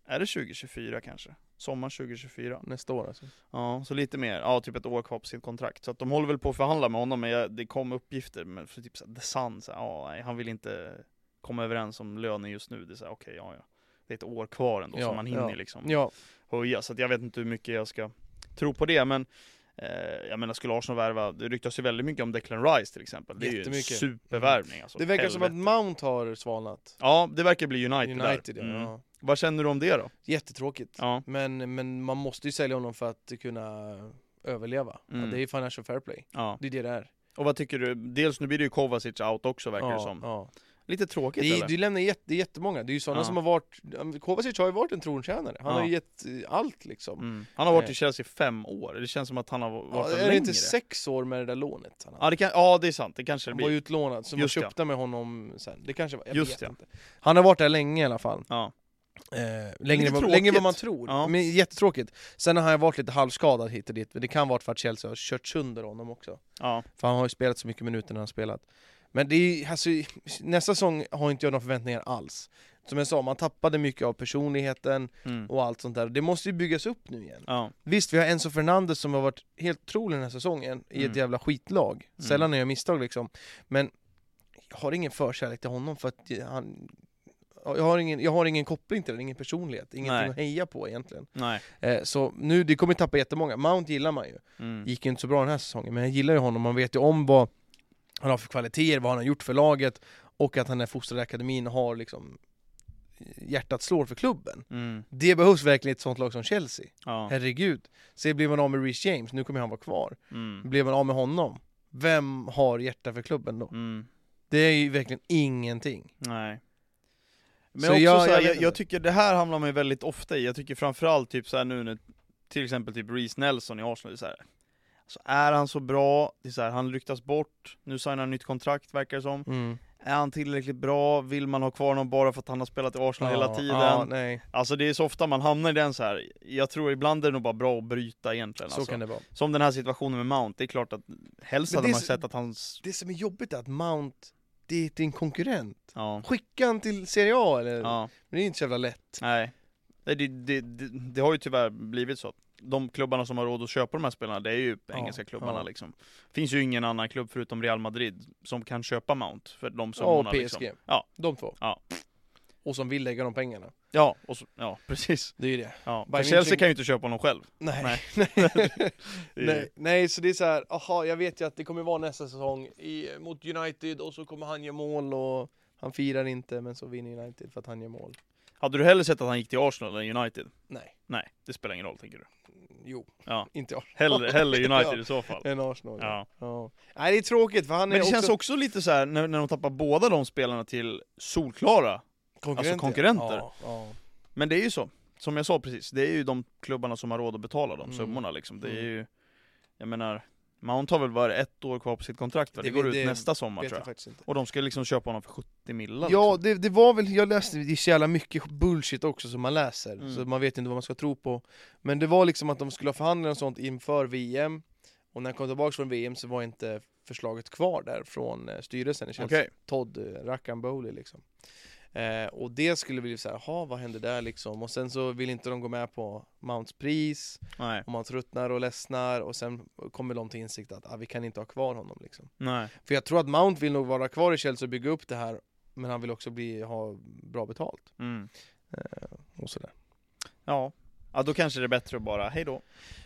är det 2024 kanske? Sommaren 2024?
Nästa år alltså.
Ja, så lite mer. Ja, typ ett år kvar på sitt kontrakt. Så att de håller väl på att förhandla med honom, men jag, det kom uppgifter men för typ såhär, The Sun, såhär, ja, nej, han vill inte komma överens om lönen just nu. Det är såhär, okej, ja, ja. Det är ett år kvar ändå,
Ja,
så man hinner
ja.
liksom
Ja,
höja. Så att jag vet inte hur mycket jag ska tro på det, men eh, jag menar, skulle Arsenal värva, det ryktas ju väldigt mycket om Declan Rice till exempel. Det är ju en
Jättemycket.
supervärvning alltså.
det verkar som att
Helvete.
Mount har svalnat.
Ja, det verkar bli United,
United,
där.
ja.
Mm.
ja.
Vad känner du om det då?
Jättetråkigt.
Ja.
Men, men man måste ju sälja honom för att kunna överleva. Ja,
Mm.
det är ju financial fair play.
ja.
Det är det det är.
Och vad tycker du? Dels nu blir det ju Kovacic out också verkar
ja,
det som.
Ja.
Lite tråkigt
Det,
eller?
är- du lämnar jätte, det är jättemånga, det är ju sådana
Ja.
som har varit, Kovacic har ju varit en trontjänare, han
Ja.
har ju gett eh, allt liksom.
Mm. Han har varit
Eh.
i Chelsea i fem år, det känns som att han har varit
Ja,
där
är det
längre.
inte sex år med det där lånet? Han, hade?
ja, det kan, ja det är sant, det kanske det
han var ju
blir.
utlånad, så man
Just ja.
köpte med honom sen. Det kanske var, jag
Just
vet
ja.
inte. Han har varit där länge i alla fall.
Ja.
Eh, längre,
Lite
än vad,
tråkigt.
längre än vad man tror.
Ja.
Men jättetråkigt. Sen har han varit lite halvskadad hit och dit, men det kan vara för att Chelsea har kört sönder honom också.
Ja.
För han har ju spelat så mycket minuter när han spelat. Men det är, ju- alltså, nästa säsong har inte jag några förväntningar alls. Som jag sa, man tappade mycket av personligheten
Mm.
och allt sånt där. Det måste ju byggas upp nu igen.
ja.
Visst, vi har Enzo Fernandes som har varit helt otrolig den här säsongen i ett
Mm.
jävla skitlag.
Mm.
Sällan gör jag misstag liksom. Men jag har ingen förkärlek till honom för att han... Jag har ingen, jag har ingen koppling till den, ingen personlighet, ingenting
Nej.
att heja på egentligen.
Nej.
Eh, så nu, det kommer tappa jättemånga. Mount gillar man ju.
Mm.
Gick ju inte så bra den här säsongen, men jag gillar ju honom. Man vet ju om vad han har för kvaliteter, vad han har gjort för laget och att han är fostrad i akademin och har liksom eh, hjärtat slår för klubben.
Mm.
Det behövs verkligen i ett sånt lag som Chelsea.
Ja.
Herregud. Se, blir man av med Reece James, nu kommer han vara kvar.
Mm.
Blir man av med honom, vem har hjärta för klubben då?
Mm.
Det är ju verkligen ingenting.
Nej. Men
Så
också
jag-
jag, så
jag
här,
vet
jag, jag
inte.
tycker det här hamnar man ju väldigt ofta i, jag tycker framförallt typ så här nu när till exempel typ Reece Nelson i Arsenal, det är så här, alltså är han så bra? Det är så här, han ryktas bort, nu signar han nytt kontrakt verkar det som.
Mm.
Är han tillräckligt bra? Vill man ha kvar honom bara för att han har spelat i Arsenal hela tiden?
Ja, nej.
Alltså det är så ofta man hamnar i den så här. jag tror ibland är det nog bara bra att bryta egentligen
Så
alltså.
kan det vara.
Som den här situationen med Mount, det är klart att helst
Men
hade
det är
man
så-
sett att hans...
Det som är jobbigt är att Mount, det är din konkurrent.
Ja,
Skicka han till Serie A eller?
ja,
Men det är inte så jävla lätt.
nej. Nej, Det, det, det, det har ju tyvärr blivit så. De klubbarna som har råd att köpa de här spelarna, det är ju engelska klubbarna
ja.
liksom. Finns ju ingen annan klubb förutom Real Madrid som kan köpa Mount för de
Ja, och
summorna
PSG.
liksom. Ja.
De två.
Ja.
Och som vill lägga de pengarna.
Ja, och så, ja precis.
Det är ju det.
Ja.
Bayern
För Chelsea
München-
kan ju inte köpa honom själv.
Nej.
Nej.
Nej.
Det är-
Nej, nej, så det är så här, aha, jag vet ju att det kommer vara nästa säsong i, mot United och så kommer han göra mål och han firar inte men så vinner United för att han gör mål.
Hade du hellre sett att han gick till Arsenal än United?
Nej,
Nej, det spelar ingen roll tänker du.
jo,
Ja.
inte Arsenal.
Hellre, hellre United
Ja.
i så fall.
En Arsenal. Ja.
Ja.
Ja. Nej, det är tråkigt för han
Men
är
det
också
känns också lite så här när, när de tappar båda de spelarna till solklara. alltså konkurrenter.
Ja, ja.
Men det är ju så. Som jag sa precis, det är ju de klubbarna som har råd att betala de
Mm.
summorna liksom. Det är
Mm.
ju, jag menar, Mount har väl bara ett år kvar på sitt kontrakt va?
Det
Det,
vet-
går ut
det
nästa sommar
Vet
tror
jag
jag.
faktiskt inte.
Och de ska liksom köpa honom för 70 millar
Ja,
liksom.
det, det var väl, jag läste, det är så jävla mycket bullshit också som man läser,
Mm.
så man vet inte vad man ska tro på. Men det var liksom att de skulle ha förhandlingar och sånt inför VM, och när jag kom tillbaka från VM så var inte förslaget kvar där från eh, styrelsen i Chelsea.
Okej.
Todd eh, Rackham Bowley liksom. Eh, och det skulle bli så här, jaha vad händer där liksom? Och sen så vill inte de gå med på Mounts pris,
Nej.
och man tröttnar och ledsnar och sen kommer de till insikt att ah, vi kan inte ha kvar honom liksom.
Nej.
För jag tror att Mount vill nog vara kvar i Chelsea och bygga upp det här, men han vill också bli, ha bra betalt
Mm.
och sådär.
Ja. ja, då kanske det är bättre att bara hej då.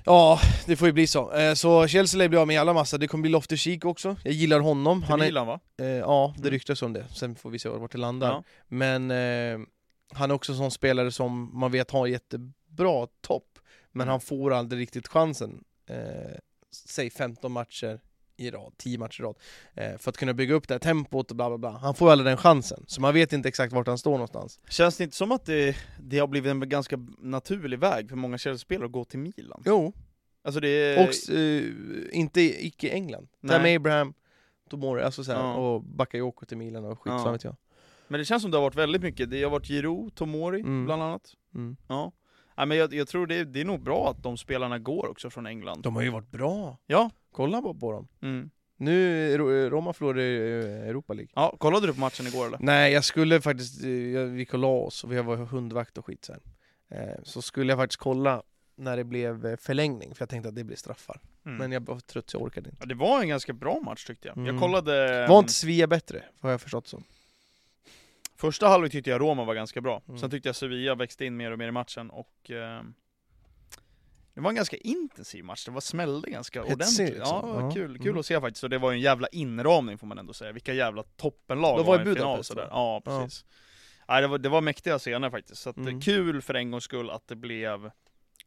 Ja, det får ju bli så. Eh, så Chelsea lär bli av med jävla massa, det kommer bli Loftus Cheek också. Jag gillar honom.
Till
Han är,
Milan va?
eh, ja, det
Mm.
ryktas om det. Sen får vi se vart det landar.
Ja.
Men eh, han är också en sån spelare som man vet har jättebra topp, men
Mm.
han får aldrig riktigt chansen. Eh, säg 15 matcher i rad, 10 matcher i rad, eh, för att kunna bygga upp det här tempot och bla bla bla. Han får aldrig den chansen, så man vet inte exakt vart han står någonstans.
Känns det inte som att det, det har blivit en ganska naturlig väg för många Chelsea-spelare att gå till Milan?
Jo,
Alltså det är...
och eh, inte icke-England.
Nej.
Där med Abraham, Tomori, alltså så här,
Ja.
och Bakayoko till Milan och skit,
Ja.
fan vet jag.
Men det känns som det har varit väldigt mycket, det har varit Giroud, Tomori
Mm.
bland annat.
Mm.
Ja. Nej, men jag, jag tror det, det är nog bra att de spelarna går också från England.
De har ju varit bra!
Ja.
Kolla bara på dem.
Mm.
Nu, Ro- Roma förlorade eh, Europa League.
Ja, kollade du på matchen igår eller?
Nej, jag skulle faktiskt, eh, jag- vi kollade oss och vi var hundvakt och skit sen. Eh, Så skulle jag faktiskt kolla när det blev eh, förlängning, för jag tänkte att det blir straffar.
Mm.
Men jag var trött så jag orkade inte.
Ja, det var en ganska bra match tyckte jag.
Mm.
Jag kollade...
Var inte Svea bättre, har jag förstått som.
Första halvlek tyckte jag Roma var ganska bra.
Mm.
Sen tyckte jag Sevilla växte in mer och mer i matchen och... Eh, det var en ganska intensiv match, det var smällde ganska
Hetsig,
ordentligt.
liksom.
Ja,
Ja.
kul, kul
Mm.
att se faktiskt. Och det var ju en jävla inramning får man ändå säga. Vilka jävla toppenlag
De var i
i final
Budapest,
sådär.
va?
Ja,
Ja.
precis. Nej, det, var, det var mäktiga scener faktiskt. Så att, eh,
Mm.
kul för en gångs skull att det blev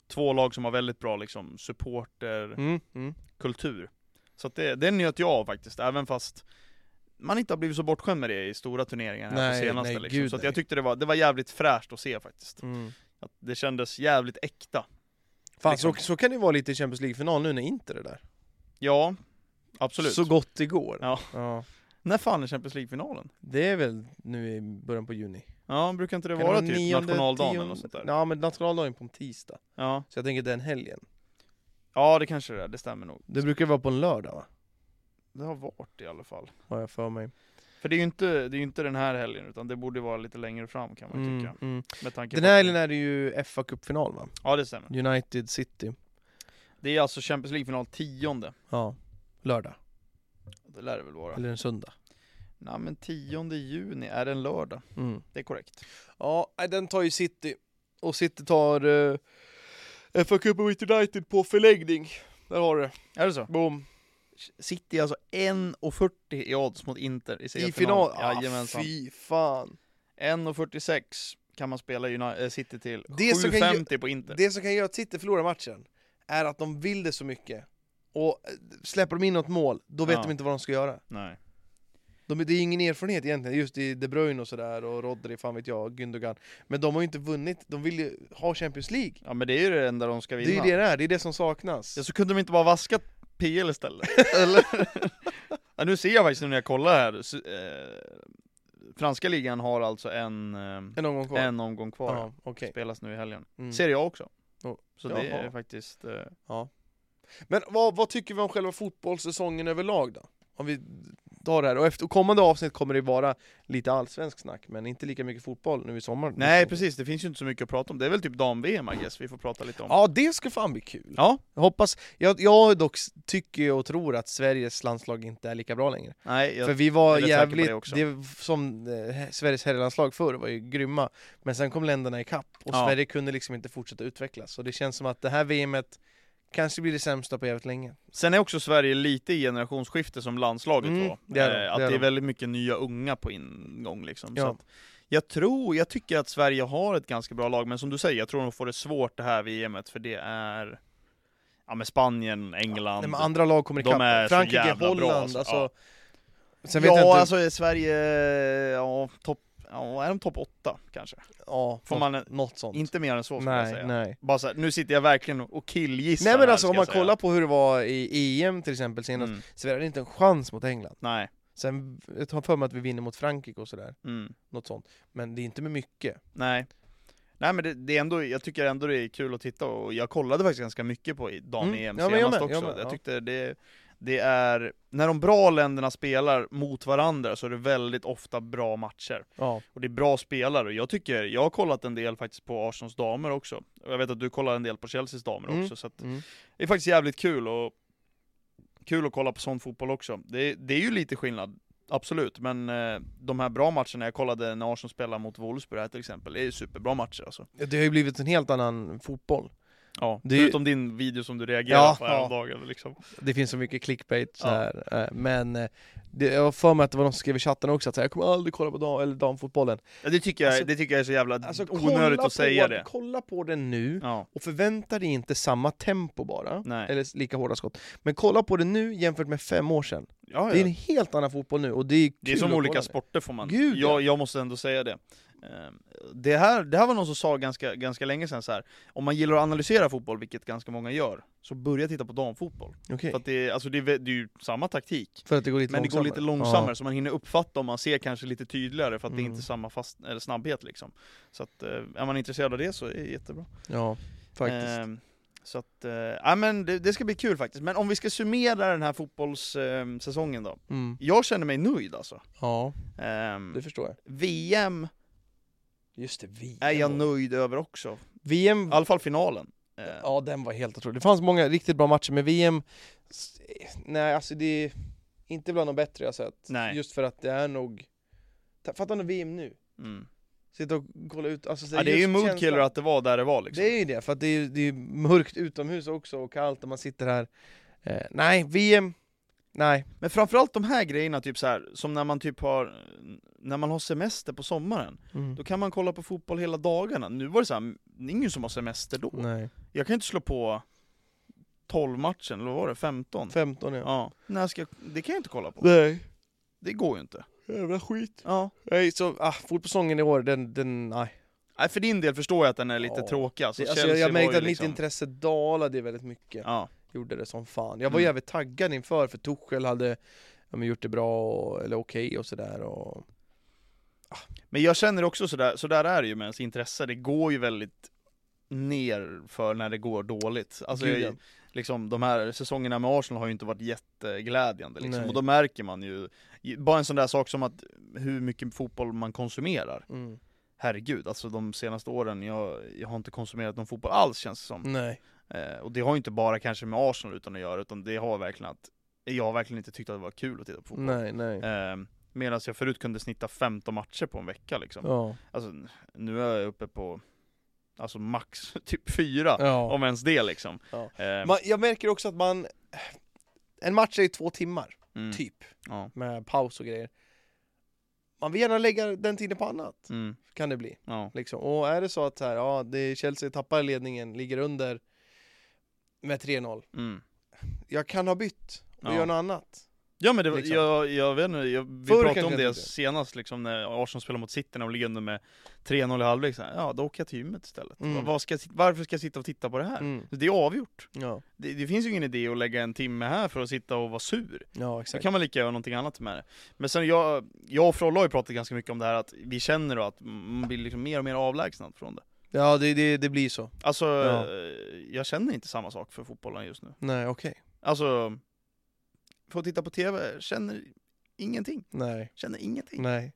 två lag som har väldigt bra liksom, supporter
Mm. Mm.
kultur. Så att det, det njöt jag av faktiskt, även fast man inte har blivit så bortskämd med det i stora turneringar här
Nej,
på senaste
nej,
liksom.
gud,
Så att
nej.
jag tyckte det var, det var jävligt fräscht att se faktiskt.
Mm.
Att det kändes jävligt äkta.
Fan,
Liksom.
så, så kan det vara lite i Champions League-final nu när inte det där.
Ja, absolut.
Så gott det går.
Ja. När fan är Champions League-finalen?
Det är väl nu i början på juni.
Ja, brukar inte det
Kan
vara
vara
typ
nionde,
nationaldagen eller
tionde-
något sånt där? Ja.
Ja, men nationaldagen är på en tisdag.
ja.
Så jag tänker den helgen.
det kanske det är, det stämmer nog.
Det brukar vara på en lördag va?
Det har varit i alla fall.
Har jag för mig.
För det är ju inte, det är ju inte den här helgen, utan det borde vara lite längre fram kan man
Mm,
tycka.
mm.
Med tanke
Den
på att-
här helgen är det ju FA-cupfinal va?
Ja, det stämmer.
United City.
Det är alltså Champions League-final tionde.
Ja. Lördag.
Det lär det väl vara.
Eller en söndag.
Nej men 10 juni är en lördag,
Mm.
det är korrekt.
Ja, nej, den tar ju City. Och City tar eh, FA-cupen mot United på förläggning. Där har du det.
Är det så?
Boom.
City är alltså 1,40 i odds mot Inter i
I
semifinal.
final. Ah,
Jajamensan.
fy fan.
1,46 kan man spela Uni- eh, City till.
Det som kan ge-
7,50 på Inter.
Det som kan göra att City förlorar matchen är att de vill det så mycket. Och eh, släpper de in något mål, då vet
Ja.
de inte vad de ska göra.
Nej.
De, det är ingen erfarenhet egentligen, just i De Bruyne och sådär, och Rodri, fan vet jag, Gündogan. Men de har ju inte vunnit, de vill ju ha Champions League.
Ja men det är ju det enda de ska vinna.
Det är ju det det är, det är det som saknas.
Ja, så kunde de inte bara vaska PL istället? Eller? ja, nu ser jag faktiskt nu när jag kollar här. Så, eh, Franska ligan har alltså en, eh,
En omgång kvar?
en omgång kvar.
Ja, okej.
Spelas nu i helgen.
Mm.
Ser jag också.
Oh,
Så det är
jaha.
faktiskt... Eh,
Men vad, vad tycker vi om själva fotbollssäsongen överlag då? Om vi tar det här, och efter och kommande avsnitt kommer det vara lite allsvensk snack, men inte lika mycket fotboll nu i sommar.
Nej precis, det finns ju inte så mycket att prata om. Det är väl typ dam-VM I guess, vi får prata lite om.
Ja, det ska fan bli kul.
Ja.
Jag hoppas, jag, jag dock s- tycker och tror att Sveriges landslag inte är lika bra längre.
Nej, jag...
För vi var
är rätt säker på
jävligt,
det också.
det var som eh, Sveriges herrlandslag förr var ju grymma Men sen kom länderna i kapp och
Ja.
Sverige kunde liksom inte fortsätta utvecklas Och det känns som att det här VMet kanske blir det sämsta på jävligt länge
sen är också Sverige lite i generationsskifte som landslaget
Mm,
var.
det är de,
Eh, att
det
det
är
är,
de.
väldigt mycket nya unga på ingång liksom.
Ja.
Så att jag tror, jag tycker att Sverige har ett ganska bra lag, men som du säger, jag tror de får det svårt det här VMet, för det är... Ja men Spanien, England.
Nej, men andra lag kommer i
de
kapp,
är så
Frankrike,
jävla bra,
Holland
alltså.
alltså
Ja.
Sen vet
ja
jag inte,
alltså är Sverige, ja, topp, ja, är de topp åtta kanske?
ja,
får
något,
man en-
något sånt
Inte mer än så skulle jag
Nej,
säga.
nej
Bara så här, nu sitter jag verkligen och och killgissar
Nej men
här,
alltså
ska
om
jag
man
säga.
kollar på hur det var i EM till exempel senast
Mm,
Sverige hade inte en chans mot England
nej.
Sen, jag har för mig att vi vinner mot Frankrike och sådär,
Mm.
något sånt Men det är inte med mycket
Nej. Nej men det, det är ändå, jag tycker ändå det är kul att titta och jag kollade faktiskt ganska mycket på i
Mm.
dam-EM
Ja, men jag
senast
med, jag
också. Jag,
med, ja.
tyckte det, det är, när de bra länderna spelar mot varandra så är det väldigt ofta bra matcher.
Ja.
Och det är bra spelare, och jag tycker, jag har kollat en del faktiskt på Arsenals damer också. Och jag vet att du kollar en del på Chelseas damer
Mm.
också, så att
Mm.
det är faktiskt jävligt kul och kul att kolla på sån fotboll också. Det, det är ju lite skillnad, absolut, men eh, de här bra matcherna, jag kollade när Arsenal spelade mot Wolfsburg här till exempel, det är ju superbra matcher alltså.
Det har ju blivit en helt annan fotboll.
Ja,
Det är ju-
förutom din video som du reagerade
Ja,
på
ja.
häromdagen liksom.
Det finns så mycket clickbait så
Ja.
här. eh, men eh, det, jag har för mig att det var någon som skrev i chatten också att så här, jag kommer aldrig kolla på dam, eller damfotbollen.
Ja, det, tycker jag,
Alltså-
det tycker jag är så jävla
Alltså,
Mm. onödigt
kolla
att säga
på,
det.
Kolla på den nu
Ja,
och förvänta dig inte samma tempo bara,
nej.
eller lika hårda skott. Men kolla på det nu jämfört med fem år sedan.
Ja, ja.
Det är en helt annan fotboll nu och det är
Det är
kul
som
att
olika
kolla
sporter får man,
Gud, ja.
jag, jag måste ändå säga det. Eh, Det här, det här var någon som sa ganska, ganska länge sedan så här. om man gillar att analysera fotboll, vilket ganska många gör, så börja titta på damfotboll.
det. Okej.
För att det, är- alltså det, är vä- det är ju samma taktik,
För att det går lite
men det går
långsammare.
lite långsammare så man hinner uppfatta om man ser kanske lite tydligare för att det är
Mm.
inte samma fast, eller snabbhet liksom. Så att, eh, är man intresserad av det så är det jättebra.
Ja, ja faktiskt.
Ehm, så att, eh, ja men det, det ska bli kul faktiskt. Men om vi ska summera den här fotbollssäsongen då.
Mm.
Jag känner mig nöjd alltså.
Ja,
Ehm,
det förstår jag.
VM
Just det, VM.
är jag
var-
nöjd över också.
VM
I alla fall finalen. Eh,
Ja, den var helt otrolig. Det fanns många riktigt bra matcher, men VM... s- Nej, alltså det är inte bland de bättre jag sett.
Nej.
Just för att det är nog... Ta- Fatta nu VM nu.
Mm.
Sitta och kolla ut... Alltså, så
Ja, det är ju
just
moodkiller
känslan-
att det var där det var liksom.
Det är ju det, för att det är, det är mörkt utomhus också och kallt och man sitter här. Eh, nej, VM... Nej.
Men framförallt de här grejerna, typ så här, som när man typ har, när man har semester på sommaren,
Mm.
då kan man kolla på fotboll hela dagarna. Nu var det så här, det är ingen som har semester då.
Nej.
Jag kan inte slå på 12 matchen, eller vad var det, 15?
15 ja.
Ja. När ska jag, det kan jag inte kolla på.
Nej.
Det går ju inte.
Jävla skit.
Ja.
Nej, så... Ah, fotbollssäsongen i år, den... den nej.
Nej, för din del förstår jag att den är lite
Ja.
tråkig alltså.
Det, alltså, jag,
Chelsea
jag
var
märkte
ju
att
liksom-
mitt intresse dalade väldigt mycket.
Ja.
gjorde det som fan. Jag var
Mm.
jävligt taggad inför för Tuchel hade ja, men, gjort det bra och, eller okej och sådär och...
Men jag känner också sådär, sådär är det ju med ens intresse, det går ju väldigt ner för när det går dåligt. Alltså
Gud,
jag, liksom, de här säsongerna med Arsenal har ju inte varit jätteglädjande liksom.
Nej.
och då märker man ju, bara en sån där sak som att hur mycket fotboll man konsumerar.
ja. mm.
Herregud, alltså de senaste åren, jag, jag har inte konsumerat någon fotboll alls känns det som.
Nej.
Eh, och det har ju inte bara kanske med Arsenal utan att göra, utan det har verkligen att, jag har verkligen inte tyckt att det var kul att titta på fotboll.
nej, nej.
Eh, Medan jag förut kunde snitta 15 matcher på en vecka liksom.
Ja.
Alltså n- nu är jag uppe på Alltså max typ fyra
ja.
Om ens det liksom
Ja.
Ehm,
Man, jag märker också att man... En match är ju två timmar,
mm,
typ,
ja,
med paus och grejer. Man vill gärna lägga den tiden på annat,
mm,
kan det bli.
ja,
Liksom. Och är det så att så här, ja, det, Chelsea tappar ledningen, ligger under med 3-0.
mm.
Jag kan ha bytt och
Ja.
gör något annat.
ja men det, var-
Liksom.
jag, jag vet inte, jag, vi
Förr
pratade om
kanske jag
det
tyckte.
senast liksom när Arsenal spelade mot City när de ligger under med 3-0 i halvlek så här, Ja då åker jag till gymmet istället
Mm.
Vad- vad ska jag, sit- Varför ska jag sitta och titta på det här?
Mm.
Det är avgjort
Ja.
det, det finns ju ingen idé att lägga en timme här för att sitta och vara sur
ja,
Så
exakt.
kan man lika göra någonting annat med det. Men sen jag, jag och Frolla har ju pratat ganska mycket om det här att vi känner då att man blir liksom mer och mer avlägsnad från det.
Ja, det, det, det blir så.
Alltså,
Ja.
eh, jag känner inte samma sak för fotbollen just nu.
Nej, okej.
Alltså, för att titta på TV, känner ingenting.
Nej.
Känner ingenting.
Nej.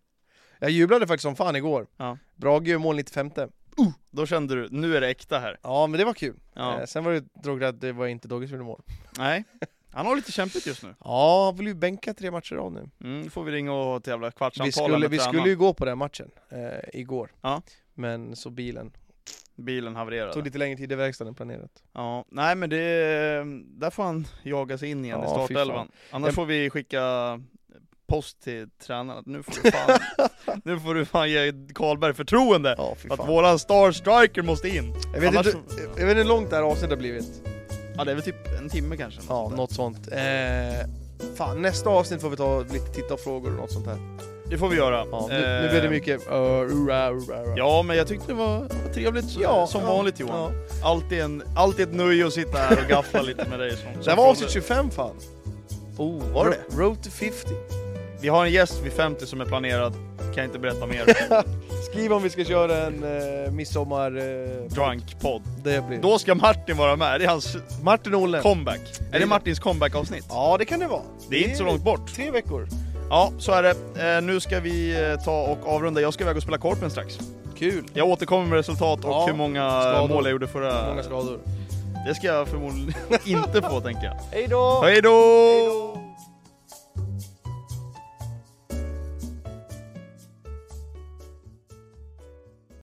Jag jublade faktiskt som fan igår.
Ja.
Brage gör mål 95.
Uh, Då kände du, nu är det äkta här.
Ja, men det var kul.
Ja.
Eh, sen var det tråkigt att det var inte Dogge som gjorde mål.
Nej, han har lite kämpigt just nu.
Ja, han vill ju bänka tre matcher av nu.
Mm, då får vi ringa och tävla kvartsamtal
Vi skulle,
med
vi
tränaren.
skulle ju gå på den matchen eh, igår.
Ja.
Men så bilen.
Bilen havererade.
Tog lite längre tid i verkstaden än planerat.
Ja, nej men det, där får han jaga sig in igen i
Ja,
startelvan. Annars
Jag-
får vi skicka post till tränaren att nu får du fan, nu får du fan ge Karlberg förtroende!
Ja, fy
Att
fan.
våran star striker måste in!
Jag vet,
annars-
inte, jag vet inte hur långt det här avsnittet har blivit.
Ja det är väl typ en timme kanske. något
Ja,
sånt där.
något sånt. Eh, fan, nästa avsnitt får vi ta lite titta och frågor och något sånt här.
Det får vi göra.
Ja, nu, nu blir det
Eh,
mycket... Uh, hurra, hurra, hurra.
Ja men jag tyckte det var trevligt så,
Ja,
som
ja,
vanligt Johan. Alltid, en, alltid ett nöje att sitta här och gaffla lite med dig. Som, som
Det här var
vanligt.
avsnitt 25 fan.
Oh, var det
Road to 50.
Vi har en gäst vid 50 som är planerad, kan jag inte berätta mer.
Skriv om vi ska köra en eh, midsommar... Eh,
Drunk-podd.
det blir.
Då ska Martin vara med, det är hans
Martin Olle.
comeback. Är det Martins comeback-avsnitt?
Ja, det kan det vara.
Det är inte så långt bort.
Tre veckor.
Ja, så är det. Eh, nu ska vi eh, ta och avrunda. Jag ska iväg och spela Korpen strax.
Kul.
Jag återkommer med resultat och
Ja,
hur många
skador.
mål jag gjorde förra...
Många skador.
Det ska jag förmodligen inte få, tänker jag.
Hej då!
Hej då!